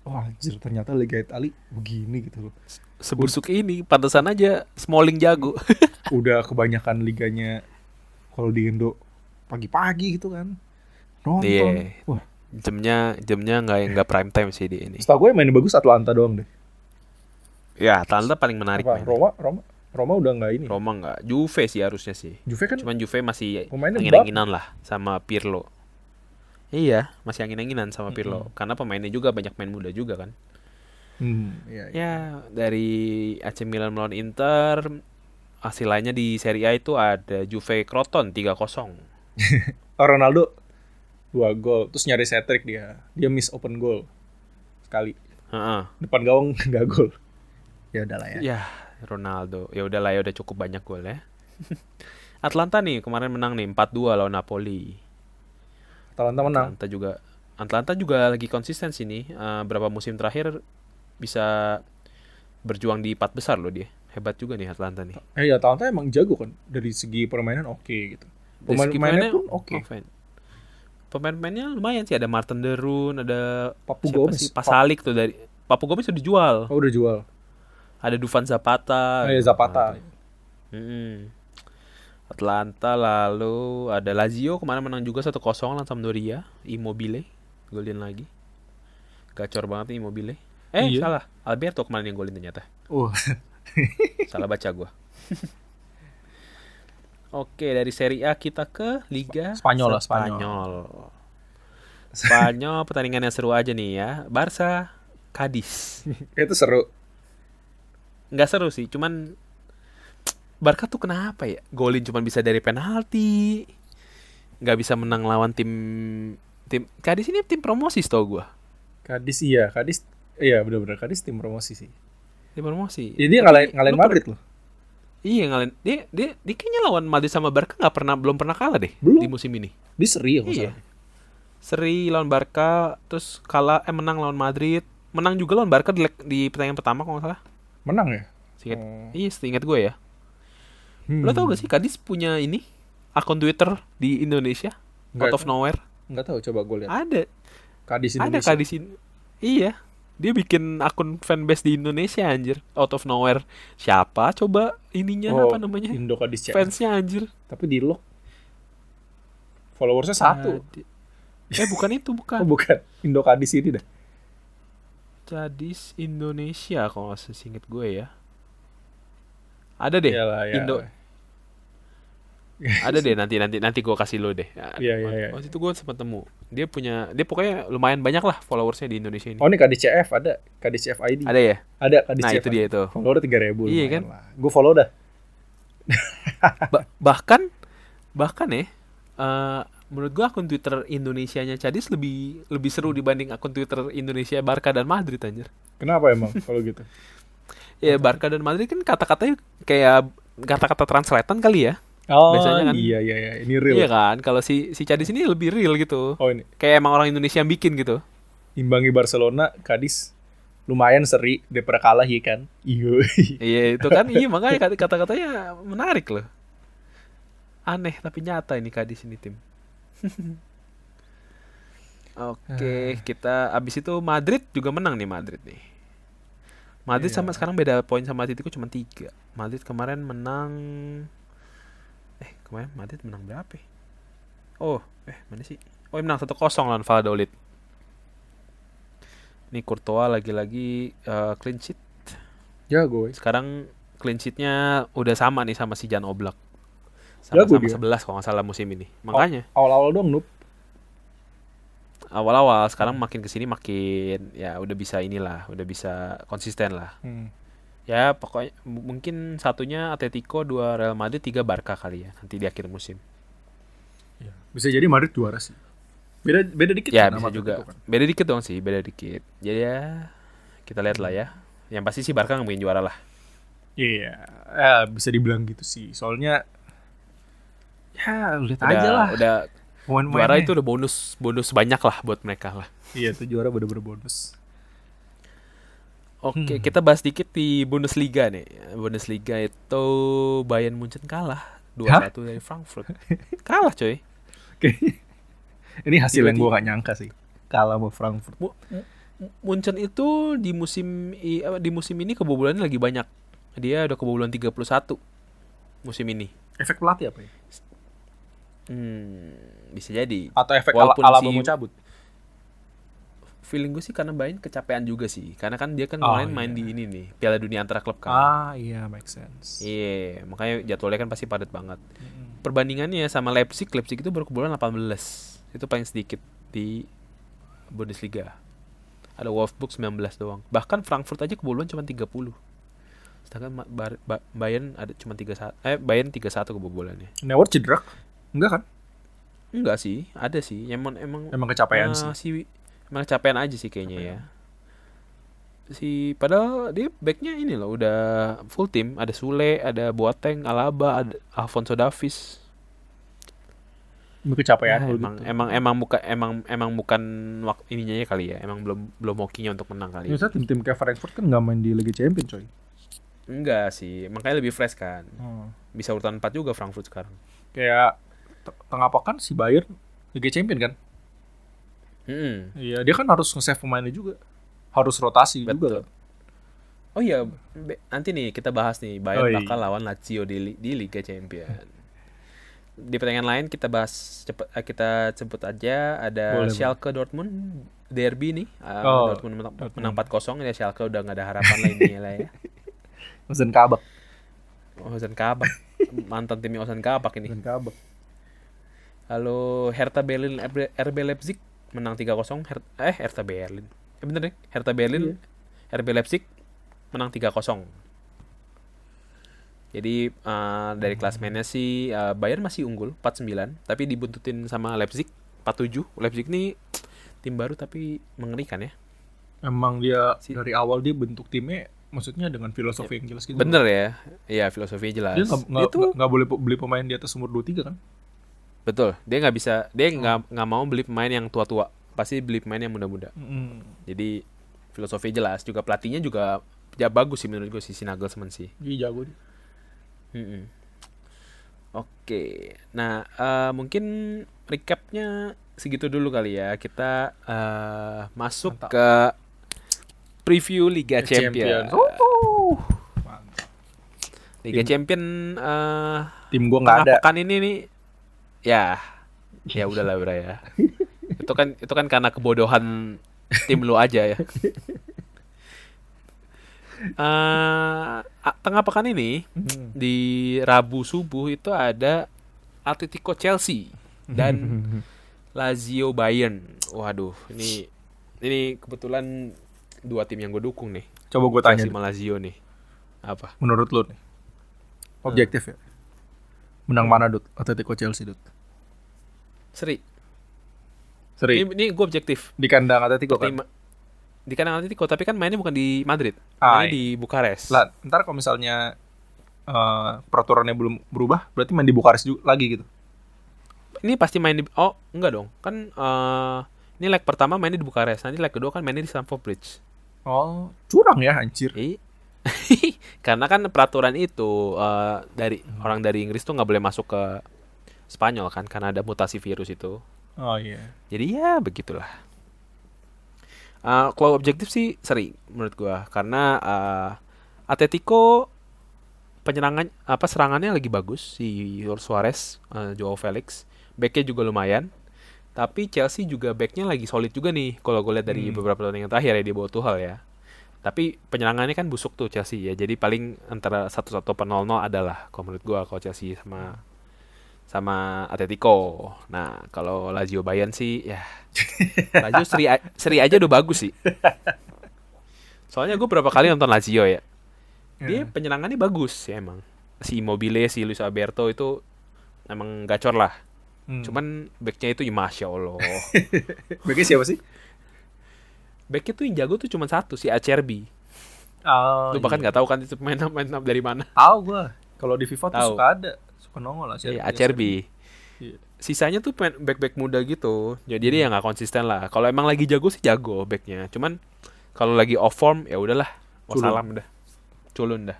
Speaker 2: wah anjir ternyata Liga Itali begini gitu loh.
Speaker 1: Sebusuk ini, pantesan aja Smalling jago.
Speaker 2: Udah kebanyakan liganya kalau di Indo pagi-pagi gitu kan. Nonton.
Speaker 1: Iya.
Speaker 2: Wah,
Speaker 1: jamnya jamnya nggak nggak prime time sih di ini.
Speaker 2: setahu gue yang main bagus Atlanta doang deh.
Speaker 1: Ya, Atalanta paling menarik
Speaker 2: Apa,
Speaker 1: mainnya.
Speaker 2: Roma, Roma, Roma udah nggak ini.
Speaker 1: Roma nggak, Juve sih harusnya sih.
Speaker 2: Juve kan
Speaker 1: Cuman Juve masih
Speaker 2: Pemainnya
Speaker 1: angin-anginan lah sama Pirlo. Iya, masih angin-anginan sama Pirlo. Karena pemainnya juga banyak main muda juga kan.
Speaker 2: Hmm, iya, iya.
Speaker 1: Ya, dari AC Milan melawan Inter, hasil lainnya di Serie A itu ada Juve Croton 3-0.
Speaker 2: Oh, Ronaldo dua gol, terus nyari set trick dia. Dia miss open goal sekali.
Speaker 1: Heeh.
Speaker 2: Depan gawang nggak gol. Ya udahlah ya.
Speaker 1: Ya, Ronaldo. Ya udahlah ya udah cukup banyak gol ya. Atlanta nih kemarin menang nih 4-2 lawan Napoli.
Speaker 2: Atalanta menang.
Speaker 1: Atlanta juga Atlanta juga lagi konsisten sih nih. Eh, berapa musim terakhir bisa berjuang di empat besar loh dia. Hebat juga nih Atlanta nih.
Speaker 2: Eh ya Atalanta emang jago kan dari segi permainan oke gitu.
Speaker 1: Dari segi
Speaker 2: Pemain-pemainnya
Speaker 1: pemainnya
Speaker 2: pun oke.
Speaker 1: oven. Pemain-pemainnya lumayan sih ada Martin Derun, ada
Speaker 2: Papu
Speaker 1: siapa
Speaker 2: Gomez.
Speaker 1: sih? Pasalik tuh dari Papu Gomez sudah dijual.
Speaker 2: Oh udah jual. Oh, iya,
Speaker 1: Ada Dufan Ah, Zapata. iya.
Speaker 2: Eh Zapata.
Speaker 1: Mm-mm. Atlanta lalu ada Lazio kemarin menang juga 1-0 lawan Sampdoria. Immobile golin lagi. Gacor banget nih Immobile. Eh
Speaker 2: Iya.
Speaker 1: salah, Alberto kemarin yang golin ternyata.
Speaker 2: Oh,
Speaker 1: Salah baca gua. Oke, dari Serie A kita ke Liga
Speaker 2: Sp- Spanyol lah, Spanyol.
Speaker 1: Spanyol. Spanyol pertandingan yang seru aja nih ya. Barca Cadiz.
Speaker 2: itu seru.
Speaker 1: Nggak seru sih, cuman Barca tuh kenapa ya? Golin cuman bisa dari penalti. Nggak bisa menang lawan tim tim Cadiz ini tim promosi tau gua.
Speaker 2: Kadis iya, Kadis iya benar-benar Kadis tim promosi sih.
Speaker 1: Tim promosi.
Speaker 2: Jadi dia
Speaker 1: Tapi
Speaker 2: ngalahin ngalahin
Speaker 1: Iya. lu per-
Speaker 2: Madrid loh.
Speaker 1: Iya ngalahin. Dia, dia, dia kayaknya lawan Madrid sama Barca nggak pernah belum pernah kalah deh
Speaker 2: Belum.
Speaker 1: di musim ini.
Speaker 2: Dia seri ya, kalau
Speaker 1: Iya.
Speaker 2: salah.
Speaker 1: Seri lawan Barca, terus kalah eh menang lawan Madrid, menang juga lawan Barca di, leg- di pertandingan pertama kalau nggak salah.
Speaker 2: Menang ya?
Speaker 1: Seingat,
Speaker 2: Oh.
Speaker 1: iya, seingat gue ya.
Speaker 2: Hmm.
Speaker 1: Lo tau gak sih Kadis punya ini akun Twitter di Indonesia?
Speaker 2: Nggak
Speaker 1: Out of nowhere.
Speaker 2: Enggak tahu coba gue lihat.
Speaker 1: Ada,
Speaker 2: Kadis
Speaker 1: ada
Speaker 2: Indonesia.
Speaker 1: Kadis in- Iya, dia bikin akun fanbase di Indonesia anjir. Out of nowhere. Siapa coba ininya
Speaker 2: Oh,
Speaker 1: apa namanya?
Speaker 2: Indo Kadis CS.
Speaker 1: Fansnya anjir.
Speaker 2: Tapi di lock. Followersnya satu.
Speaker 1: Jadi- Eh bukan itu, bukan.
Speaker 2: Oh bukan. Indo Kadis ini dah.
Speaker 1: Cadis Indonesia kalau nggak singkat gue ya. Ada deh.
Speaker 2: Iyalah, ya.
Speaker 1: Indo- Ada deh nanti nanti nanti gue kasih lo deh. Ya,
Speaker 2: Iya, iya,
Speaker 1: waktu-
Speaker 2: iya.
Speaker 1: Waktu itu gue sempat temu. Dia punya dia pokoknya lumayan banyak lah followersnya di Indonesia ini.
Speaker 2: Oh ini Kadis CF ada. Kadis CF ID.
Speaker 1: Ada ya?
Speaker 2: Ada Kadis
Speaker 1: Nah,
Speaker 2: CF.
Speaker 1: itu dia itu.
Speaker 2: Follower 3000
Speaker 1: Iya, kan?
Speaker 2: Gue follow dah.
Speaker 1: Ba- bahkan bahkan ya eh, menurut gue akun Twitter Indonesianya Cadis lebih lebih seru dibanding akun Twitter Indonesia Barca dan Madrid anjir.
Speaker 2: Kenapa emang kalau gitu?
Speaker 1: Ya Barca dan Madrid kan kata-katanya kayak kata-kata translatean kali ya.
Speaker 2: Oh,
Speaker 1: Biasanya kan-
Speaker 2: iya iya iya, ini real.
Speaker 1: Iya kan? Kalau si si Cadis ini lebih real gitu.
Speaker 2: Oh ini
Speaker 1: Kayak emang orang Indonesia yang bikin gitu.
Speaker 2: imbangi Barcelona, Kadis lumayan seri daripada kalah ya kan. Iya.
Speaker 1: Iya itu kan iya makanya kata- kata-katanya menarik loh. Aneh tapi nyata ini Kadis ini tim. Oke, kita abis itu Madrid juga menang nih Madrid nih. Madrid
Speaker 2: Iya.
Speaker 1: sama sekarang beda poin sama Atletico cuma tiga. Madrid kemarin menang. Eh kemarin Madrid menang berapa? ya? Oh, eh mana sih? Oh menang satu kosong lawan Valladolid. Ini Courtois lagi-lagi eh, clean sheet.
Speaker 2: ya gue.
Speaker 1: Sekarang clean sheet-nya udah sama nih sama si Jan Oblak. Sama-sama
Speaker 2: Jago Oh.
Speaker 1: 11 kalau nggak salah musim ini. Makanya
Speaker 2: Awal-awal dong noob.
Speaker 1: awal-awal sekarang makin kesini makin ya udah bisa inilah, udah bisa konsisten lah.
Speaker 2: Hmm.
Speaker 1: Ya pokoknya m- mungkin satunya Atletico, dua Real Madrid, tiga Barca kali ya nanti di akhir musim.
Speaker 2: Bisa jadi Madrid juara sih. Beda beda dikit
Speaker 1: Ya
Speaker 2: kan
Speaker 1: bisa
Speaker 2: sama
Speaker 1: juga.
Speaker 2: Atletico kan.
Speaker 1: Beda dikit dong sih, beda dikit. Jadi ya kita lihat lah ya. Yang pasti sih Barca nggak mungkin juara lah.
Speaker 2: Iya, eh, bisa dibilang gitu sih. Soalnya ya lihat
Speaker 1: Udah,
Speaker 2: aja lah. ya.
Speaker 1: udah
Speaker 2: Main-mainnya.
Speaker 1: juara itu udah bonus bonus banyak lah buat mereka lah.
Speaker 2: Iya, itu juara bener-bener bonus.
Speaker 1: Oke,
Speaker 2: Hmm.
Speaker 1: kita bahas dikit di Bundesliga nih. Bundesliga itu Bayern Munchen kalah 2-1
Speaker 2: Hah?
Speaker 1: dari Frankfurt. kalah, coy.
Speaker 2: Oke. Ini hasil yang
Speaker 1: Tiba-tiba.
Speaker 2: gue gak nyangka sih. Kalah sama Frankfurt.
Speaker 1: Mu- mu- Munchen itu di musim i- apa, di musim ini kebobolannya lagi banyak. Dia udah kebobolan 31 musim ini.
Speaker 2: Efek pelatih apa ya?
Speaker 1: Hmm, bisa jadi.
Speaker 2: Atau efek
Speaker 1: Walaupun
Speaker 2: ala, ala
Speaker 1: si-
Speaker 2: mau cabut?
Speaker 1: Feeling gue sih karena Bayern kecapean juga sih. Karena kan dia kan
Speaker 2: Oh,
Speaker 1: kemarin main
Speaker 2: iya.
Speaker 1: di ini nih, Piala Dunia Antara Klub kan.
Speaker 2: Ah, iya, make sense. Hmm.
Speaker 1: Iya, makanya jadwalnya kan pasti padat banget.
Speaker 2: Mm-mm.
Speaker 1: perbandingannya sama Leipzig, Leipzig itu baru kebobolan 18. Itu paling sedikit di Bundesliga. Ada Wolfsburg 19 doang. Bahkan Frankfurt aja kebobolan cuma 30. Sedangkan Ma- Bar- Ba- Bayern ada cuma 31 eh Bayern 31 kebobolannya.
Speaker 2: Neuer cedera? Enggak kan?
Speaker 1: Enggak sih, ada sih. Emang emang
Speaker 2: Emang
Speaker 1: eh,
Speaker 2: kecapean sih.
Speaker 1: si emang kecapean aja sih kayaknya ya. Si padahal dia backnya ini loh udah full tim, ada Sule, ada Boateng, Alaba, ada Alfonso Davies.
Speaker 2: Emang kecapean
Speaker 1: Ya,
Speaker 2: kalau
Speaker 1: emang
Speaker 2: gitu.
Speaker 1: emang emang bukan emang emang bukan waktu ininya ya kali ya. Emang belum belum hokinya untuk menang kali. Ya.
Speaker 2: Biasanya tim-tim kayak Frankfurt kan nggak main di Liga Champions coy.
Speaker 1: Enggak sih, makanya lebih fresh kan. Bisa urutan 4 juga Frankfurt sekarang.
Speaker 2: Hmm. Kayak te- tengah pekan si Bayern Liga Champions kan?
Speaker 1: Mm-mm.
Speaker 2: Iya, dia kan harus nge-save pemainnya juga. Harus rotasi juga
Speaker 1: Betul.
Speaker 2: kan?
Speaker 1: Oh iya, be- nanti nih kita bahas nih Bayern
Speaker 2: Oi.
Speaker 1: bakal lawan Lazio di, li- di Liga Champions. di pertandingan lain kita bahas cepet eh, kita sebut aja ada
Speaker 2: Boleh,
Speaker 1: Schalke Dortmund derby nih Eh,
Speaker 2: Oh,
Speaker 1: Dortmund menang,
Speaker 2: Dortmund.
Speaker 1: menang 4-0 ya Schalke udah nggak ada harapan lagi lah ya
Speaker 2: Zen kabak.
Speaker 1: Ozan Kabak mantan timnya Ozan Kabak ini
Speaker 2: Zen kabak.
Speaker 1: lalu Hertha Berlin RB RB Leipzig menang 3-0 Her- eh Hertha Berlin eh, bener deh Hertha Berlin
Speaker 2: Iya.
Speaker 1: RB Leipzig menang 3-0 jadi eh, dari klasmennya sih eh, Bayern masih unggul 49 tapi dibuntutin sama Leipzig 47 Leipzig ini tim baru tapi mengerikan ya
Speaker 2: Emang dia
Speaker 1: Si-
Speaker 2: dari awal dia bentuk timnya maksudnya dengan filosofi yang jelas gitu.
Speaker 1: bener ya iya filosofinya jelas
Speaker 2: Dia nggak- nggak
Speaker 1: Itu-
Speaker 2: nggak- nggak boleh beli pemain di atas umur 23 kan?
Speaker 1: betul dia nggak bisa
Speaker 2: Oh.
Speaker 1: dia nggak nggak mau beli pemain yang tua-tua pasti beli pemain yang muda-muda Jadi filosofi jelas juga pelatihnya juga ya bagus sih menurut gue sih si Nagelsmann sih.
Speaker 2: Dia jago dia.
Speaker 1: Mm-mm. Oke, nah eh, mungkin recapnya segitu dulu kali ya. Kita eh, masuk ke preview
Speaker 2: Ya,
Speaker 1: Liga Champions. Oh.
Speaker 2: Wuhu. Mantap.
Speaker 1: Liga Champion eh
Speaker 2: Tim gua nggak
Speaker 1: tengah
Speaker 2: ada.
Speaker 1: pekan ini nih, ya, ya udahlah Bra ya. itu kan itu kan karena kebodohan tim lu aja ya. Eh, a- tengah pekan ini
Speaker 2: Hmm.
Speaker 1: di Rabu subuh itu ada Atletico Chelsea dan Lazio Bayern. Waduh, ini ini kebetulan dua tim yang gue dukung nih.
Speaker 2: Coba gue tanya.
Speaker 1: Chelsea
Speaker 2: deh.
Speaker 1: sama Lazio nih. Apa?
Speaker 2: Menurut lu nih. Objektif ya. Menang mana Dut? Atletico Chelsea Dut.
Speaker 1: Seri.
Speaker 2: Seri.
Speaker 1: Ini, ini gue objektif.
Speaker 2: Di kandang Atletico
Speaker 1: Tapi
Speaker 2: kan.
Speaker 1: ma- di kandang Atletico, tapi kan mainnya bukan di Madrid.
Speaker 2: Ah,
Speaker 1: Mainnya
Speaker 2: iya.
Speaker 1: di Bukares.
Speaker 2: Lah, ntar kalau misalnya eh, peraturannya belum berubah, berarti main di Bukares juga lagi gitu.
Speaker 1: Ini pasti main di Oh, enggak dong. Kan eh, ini leg pertama mainnya di Bukares, nanti leg kedua kan mainnya di Stamford Bridge.
Speaker 2: Oh, curang ya anjir.
Speaker 1: I- Karena kan peraturan itu eh, dari orang dari Inggris tuh nggak boleh masuk ke Spanyol kan karena ada mutasi virus itu.
Speaker 2: Oh iya.
Speaker 1: Jadi ya begitulah. Eh, kalau objektif sih seri menurut gua karena eh, Atletico penyerangan apa serangannya lagi bagus si Suarez, eh, Joao Felix, backnya juga lumayan. Tapi Chelsea juga backnya lagi solid juga nih kalau gue lihat dari
Speaker 2: Hmm.
Speaker 1: beberapa pertandingan terakhir ya di bawah Tuchel ya. Tapi penyerangannya kan busuk tuh Chelsea ya. Jadi paling antara 1-1 atau 0-0 adalah kalau menurut gua kalau Chelsea sama sama Atletico. Nah, kalau Lazio Bayern sih ya Lazio seri, a- seri aja udah bagus sih. Soalnya gue berapa kali nonton Lazio ya.
Speaker 2: Iya.
Speaker 1: Dia penyerangannya bagus sih emang. Si Immobile, si Luis Alberto itu emang gacor lah.
Speaker 2: Hmm.
Speaker 1: Cuman backnya itu ya masya Allah.
Speaker 2: Bagi siapa sih?
Speaker 1: backnya tuh yang jago tuh cuman satu si Acerbi.
Speaker 2: Oh,
Speaker 1: Lu bahkan nggak tahu kan itu pemain pemain dari mana.
Speaker 2: tahu gua. Kalau di FIFA tuh
Speaker 1: Tahu.
Speaker 2: suka ada, suka nongol lah
Speaker 1: Iya, Acerbi.
Speaker 2: Iya.
Speaker 1: Sisanya tuh pemain back-back muda gitu. Jadi dia nggak konsisten lah. Kalau emang lagi jago sih jago backnya. Cuman kalau lagi off form ya udahlah. Wassalam dah. Culun dah.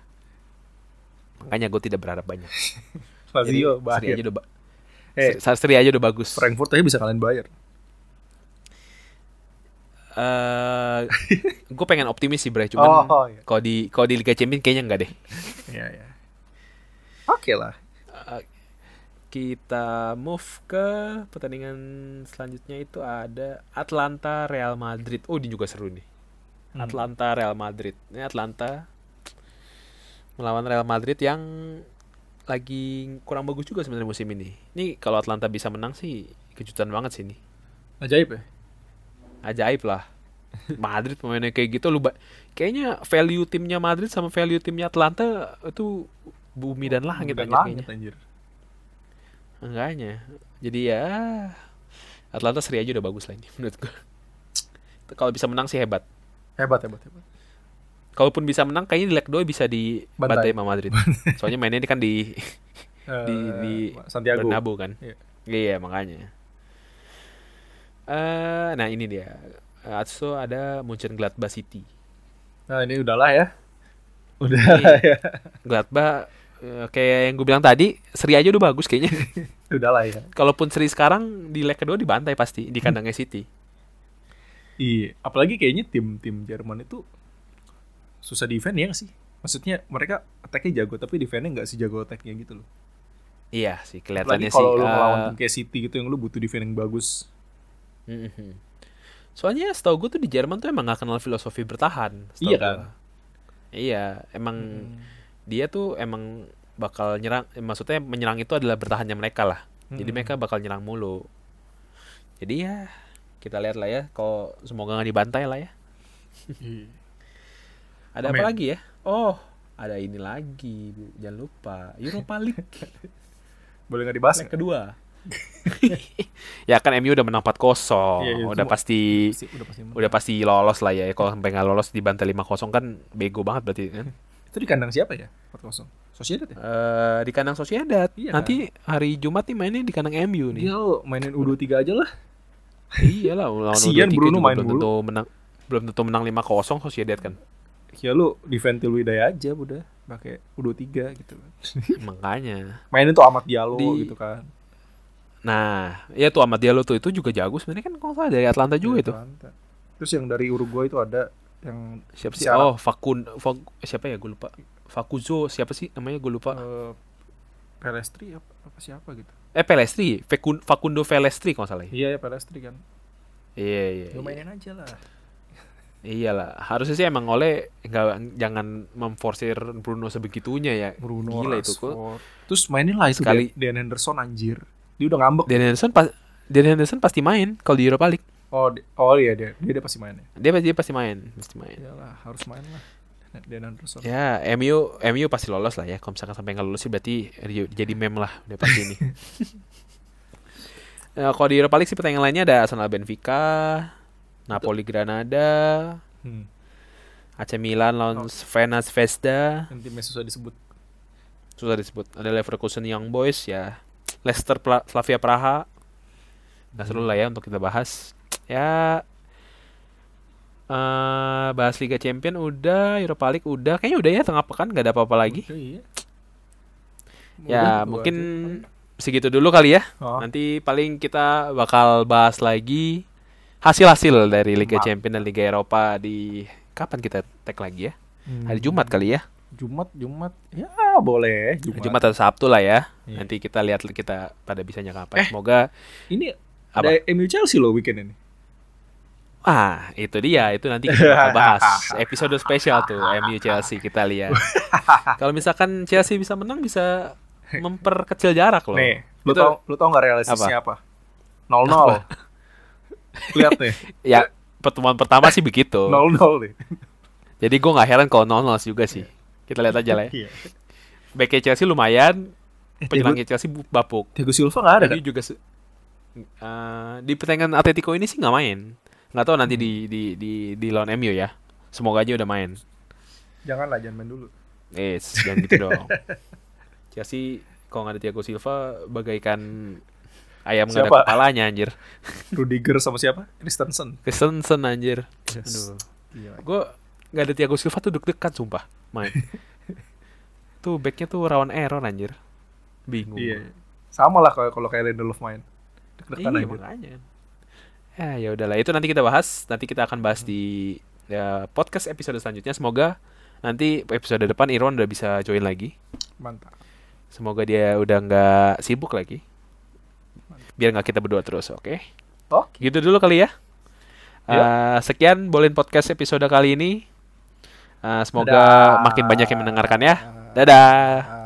Speaker 1: Makanya gue tidak berharap banyak. Jadi,
Speaker 2: Lazio,
Speaker 1: seri aja
Speaker 2: Bayern.
Speaker 1: udah ba-
Speaker 2: Eh,
Speaker 1: se- seri aja udah bagus.
Speaker 2: Frankfurt aja bisa kalian bayar.
Speaker 1: gue Eh, pengen optimis sih Bray, cuman
Speaker 2: Oh, iya.
Speaker 1: kalau di kalau di Liga Champions kayaknya enggak deh.
Speaker 2: Iya, iya. Oke lah.
Speaker 1: Eh, kita move ke pertandingan selanjutnya itu ada Atlanta Real Madrid. Oh, ini juga seru nih.
Speaker 2: Hmm.
Speaker 1: Atlanta Real Madrid. Ini Atlanta melawan Real Madrid yang lagi kurang bagus juga sebenarnya musim ini. Ini kalau Atlanta bisa menang sih kejutan banget sih ini.
Speaker 2: Ajaib ya.
Speaker 1: Ajaib lah. Madrid pemainnya kayak gitu lu ba- kayaknya value timnya Madrid sama value timnya Atlanta itu bumi dan langit
Speaker 2: Dan
Speaker 1: anjir Ah, gitu kayaknya.
Speaker 2: langit anjir.
Speaker 1: Enggaknya. Jadi ya Atlanta seri aja udah bagus lah ini menurut gue. Kalau bisa menang sih hebat.
Speaker 2: Hebat, hebat, hebat.
Speaker 1: Kalaupun bisa menang kayaknya di leg 2 bisa di bantai
Speaker 2: Bantai.
Speaker 1: sama Madrid. Soalnya mainnya ini kan di di
Speaker 2: Eh,
Speaker 1: di
Speaker 2: Santiago.
Speaker 1: Bernabeu kan.
Speaker 2: Iya.
Speaker 1: Iya, makanya. Eh nah ini dia. Atso ada Munchen Gladbach City.
Speaker 2: Nah, ini udahlah
Speaker 1: Iya.
Speaker 2: ya. Udah ya.
Speaker 1: Gladbach eh, kayak yang gue bilang tadi, seri aja udah bagus kayaknya.
Speaker 2: Udahlah ya.
Speaker 1: Kalaupun seri sekarang di leg kedua dibantai pasti di kandangnya City.
Speaker 2: Iya, apalagi kayaknya tim-tim Jerman itu susah defend ya nggak sih? Maksudnya mereka attack-nya jago tapi defend-nya nggak sejago attack-nya gitu loh.
Speaker 1: Iya sih
Speaker 2: Lagi
Speaker 1: kelihatannya sih.
Speaker 2: kalau lu
Speaker 1: eh,
Speaker 2: ngelawan tim kayak City gitu yang lu butuh defense yang bagus.
Speaker 1: mhm. Soalnya setahu gue tuh di Jerman tuh emang gak kenal filosofi bertahan. setahu
Speaker 2: Iya kan?
Speaker 1: gua. Iya, emang dia tuh emang bakal nyerang. eh, Maksudnya menyerang itu adalah bertahannya mereka lah. Jadi
Speaker 2: Mm-mm.
Speaker 1: mereka bakal nyerang mulu. Jadi ya kita lihat lah ya. Kalau semoga nggak dibantai lah ya. ada
Speaker 2: Iya. Amin.
Speaker 1: apa lagi ya? Oh, ada ini lagi. Jangan lupa Europa League.
Speaker 2: Boleh nggak dibahas?
Speaker 1: Leg
Speaker 2: nggak?
Speaker 1: kedua. ya kan MU udah menang 4-0.
Speaker 2: Iya, iya,
Speaker 1: udah
Speaker 2: semua-
Speaker 1: pasti
Speaker 2: Sih, udah pasti.
Speaker 1: udah pasti lolos lah ya. Kalau sampai nggak lolos dibantai 5-0 kan bego banget berarti kan.
Speaker 2: Itu di kandang siapa ya? 4-0. Sociedad ya?
Speaker 1: Eh, di kandang Sociedad.
Speaker 2: Iya.
Speaker 1: Nanti hari Jumat nih mainnya di kandang MU nih.
Speaker 2: Dia lo Iya, mainin U23 aja lah.
Speaker 1: Iya lah lawan
Speaker 2: Kasian
Speaker 1: U23
Speaker 2: Bruno
Speaker 1: juga
Speaker 2: main
Speaker 1: belum
Speaker 2: mulu.
Speaker 1: tentu menang belum tentu menang 5-0 Sociedad kan.
Speaker 2: Ya lu defense lu Hidayah aja udah pakai U23 gitu kan.
Speaker 1: Makanya.
Speaker 2: Mainin tuh Amat Diallo
Speaker 1: Di-
Speaker 2: gitu kan.
Speaker 1: Nah, ya tuh Ahmad Diallo tuh itu juga jago sebenarnya kan kalau nggak salah dari Atlanta juga
Speaker 2: Dari
Speaker 1: itu.
Speaker 2: Atlanta. Iya, Terus yang dari Uruguay itu ada yang
Speaker 1: Siapa sih?
Speaker 2: Si Arab.
Speaker 1: Oh, Fakun Fak- siapa ya gue lupa. Fakuzo siapa sih namanya gue lupa.
Speaker 2: eh, Pelestri apa, apa siapa gitu.
Speaker 1: Eh Pelestri, Fekun- Facundo Pelestri kalau nggak salah. ya.
Speaker 2: Iya ya Pelestri kan.
Speaker 1: Iya iya.
Speaker 2: Ya, Lu mainin aja lah.
Speaker 1: Iyalah, harusnya sih emang oleh nggak jangan memforsir Bruno sebegitunya ya.
Speaker 2: Bruno
Speaker 1: Gila itu, kok.
Speaker 2: Rashford. Terus mainin lah itu
Speaker 1: Sekali.
Speaker 2: Dan- Dan Henderson anjir. Dia udah ngambek.
Speaker 1: Dan Henderson pas Dan Henderson pasti main kalau di Europa League.
Speaker 2: Oh, di- oh iya dia dia, dia pasti main ya.
Speaker 1: Dia pasti dia pasti main, pasti main.
Speaker 2: Iyalah, harus main Iya lah. Dan- Dan Henderson.
Speaker 1: Ya, MU MU pasti lolos lah ya. Kalau misalkan sampai nggak lolos sih berarti ri- jadi meme lah udah pasti ini. Nah, kalau di Europa League sih pertandingan lainnya ada Arsenal Benfica, Napoli Granada,
Speaker 2: Hmm.
Speaker 1: AC Milan lawan
Speaker 2: Oh.
Speaker 1: Svenas Vesda,
Speaker 2: Nanti susah disebut.
Speaker 1: susah disebut. Ada Leverkusen Young Boys ya, Leicester Pla- Slavia Praha. Nah,
Speaker 2: Hmm.
Speaker 1: seru lah ya untuk kita bahas. Ya eh bahas Liga Champion udah, Europa League udah, kayaknya udah ya tengah pekan nggak ada apa-apa lagi.
Speaker 2: Udah, iya.
Speaker 1: Ya
Speaker 2: Udah, itu
Speaker 1: mungkin
Speaker 2: aja.
Speaker 1: segitu dulu kali ya.
Speaker 2: Oh,
Speaker 1: Nanti paling kita bakal bahas lagi hasil-hasil dari Liga
Speaker 2: Mantap.
Speaker 1: Champions dan Liga Eropa di kapan kita tag lagi ya?
Speaker 2: hmm,
Speaker 1: Hari Jumat kali ya.
Speaker 2: Jumat, Jumat. Ya, boleh.
Speaker 1: Hari Jumat atau Sabtu lah ya.
Speaker 2: Iya. Eh.
Speaker 1: Nanti kita lihat kita pada bisanya kapan. Semoga
Speaker 2: Ini
Speaker 1: Apa?
Speaker 2: ada MU Chelsea loh weekend ini.
Speaker 1: ah itu dia itu nanti kita bakal bahas episode spesial tuh MU Chelsea kita lihat. Kalau misalkan Chelsea bisa menang bisa memperkecil jarak loh.
Speaker 2: Nih, lu
Speaker 1: Itu-
Speaker 2: tau lu tau nggak realistisnya apa? 0-0. Lihat nih,
Speaker 1: Ya pertemuan pertama sih begitu.
Speaker 2: 0-0 nih.
Speaker 1: Jadi gue nggak heran kalau 0-0 juga sih. Kita lihat aja lah ya.
Speaker 2: Iya.
Speaker 1: Backnya Chelsea lumayan, penyerangnya Chelsea bu- bapuk.
Speaker 2: Thiago Silva nggak Iya, ada kan?
Speaker 1: Jadi juga se- Eh, di pertandingan Atletico ini sih nggak main. Nggak tahu nanti di di di di lawan MU ya. Semoga aja udah main.
Speaker 2: Janganlah, jangan main dulu.
Speaker 1: Eh, jangan gitu dong. Chelsea kalau nggak ada Thiago Silva bagaikan ayam nggak ada
Speaker 2: Siapa?
Speaker 1: kepalanya anjir.
Speaker 2: Rudiger sama siapa? Christensen.
Speaker 1: Kristensen anjir.
Speaker 2: Yes.
Speaker 1: Aduh.
Speaker 2: Gila.
Speaker 1: Gue nggak ada Thiago Silva tuh deg-degan sumpah main. tuh backnya tuh rawan error anjir. Bingung.
Speaker 2: Iya. Sama lah kalau kalau kayak Lindelof main. Deg-degan
Speaker 1: Iya,
Speaker 2: aja.
Speaker 1: makanya. Eh, ya udahlah, itu nanti kita bahas. Nanti kita akan bahas di ya, podcast episode selanjutnya. Semoga nanti episode depan Irwan udah bisa join lagi.
Speaker 2: Mantap.
Speaker 1: Semoga dia udah nggak sibuk lagi. Biar nggak kita berdua terus, oke?
Speaker 2: Oke.
Speaker 1: Gitu dulu kali ya. Eh, sekian Bolin Podcast episode kali ini. Eh, semoga
Speaker 2: Dadah.
Speaker 1: makin banyak yang mendengarkan ya. Dadah.
Speaker 2: Ah.